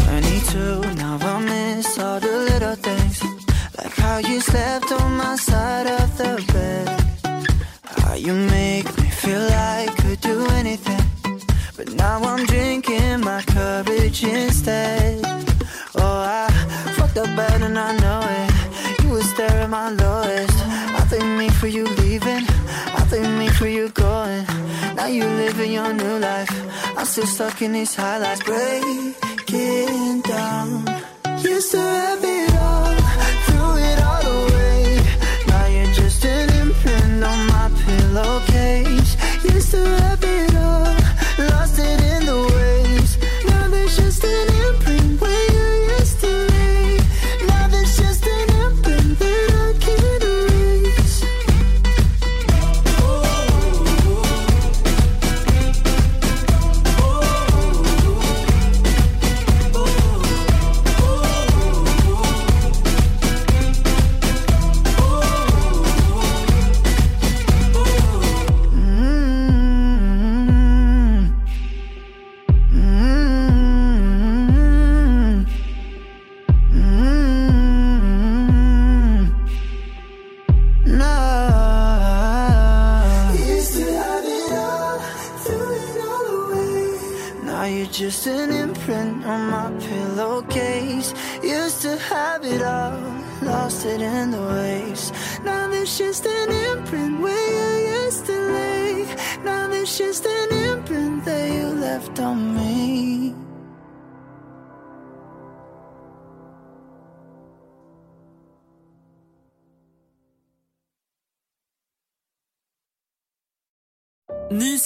Speaker 8: Twenty-two, now I miss all the little things, like how you slept on my side of the bed. How you make me feel like I could do anything. But now I'm drinking my courage instead. Oh, I fucked up bad and I know it. You was there at my lowest. I thank me for you leaving. I thank me for you going. Now you living your new life. I'm still stuck in these highlights. Breaking down. Used to have it all. Threw it all away. Now you're just an imprint on my pillowcase. Used to have it all, lost it in the waves. Now there's just an imprint where you used to lay. Now there's just an imprint that I can't erase. Oh, Mm. Mm. Mm. No. Used to have it all, threw it all away. Now you're just an imprint on my pillowcase. Used to have it all, lost it in the waves. Now there's just an imprint where you used to lay. Now there's just an imprint that you left on me.
Speaker 1: Ny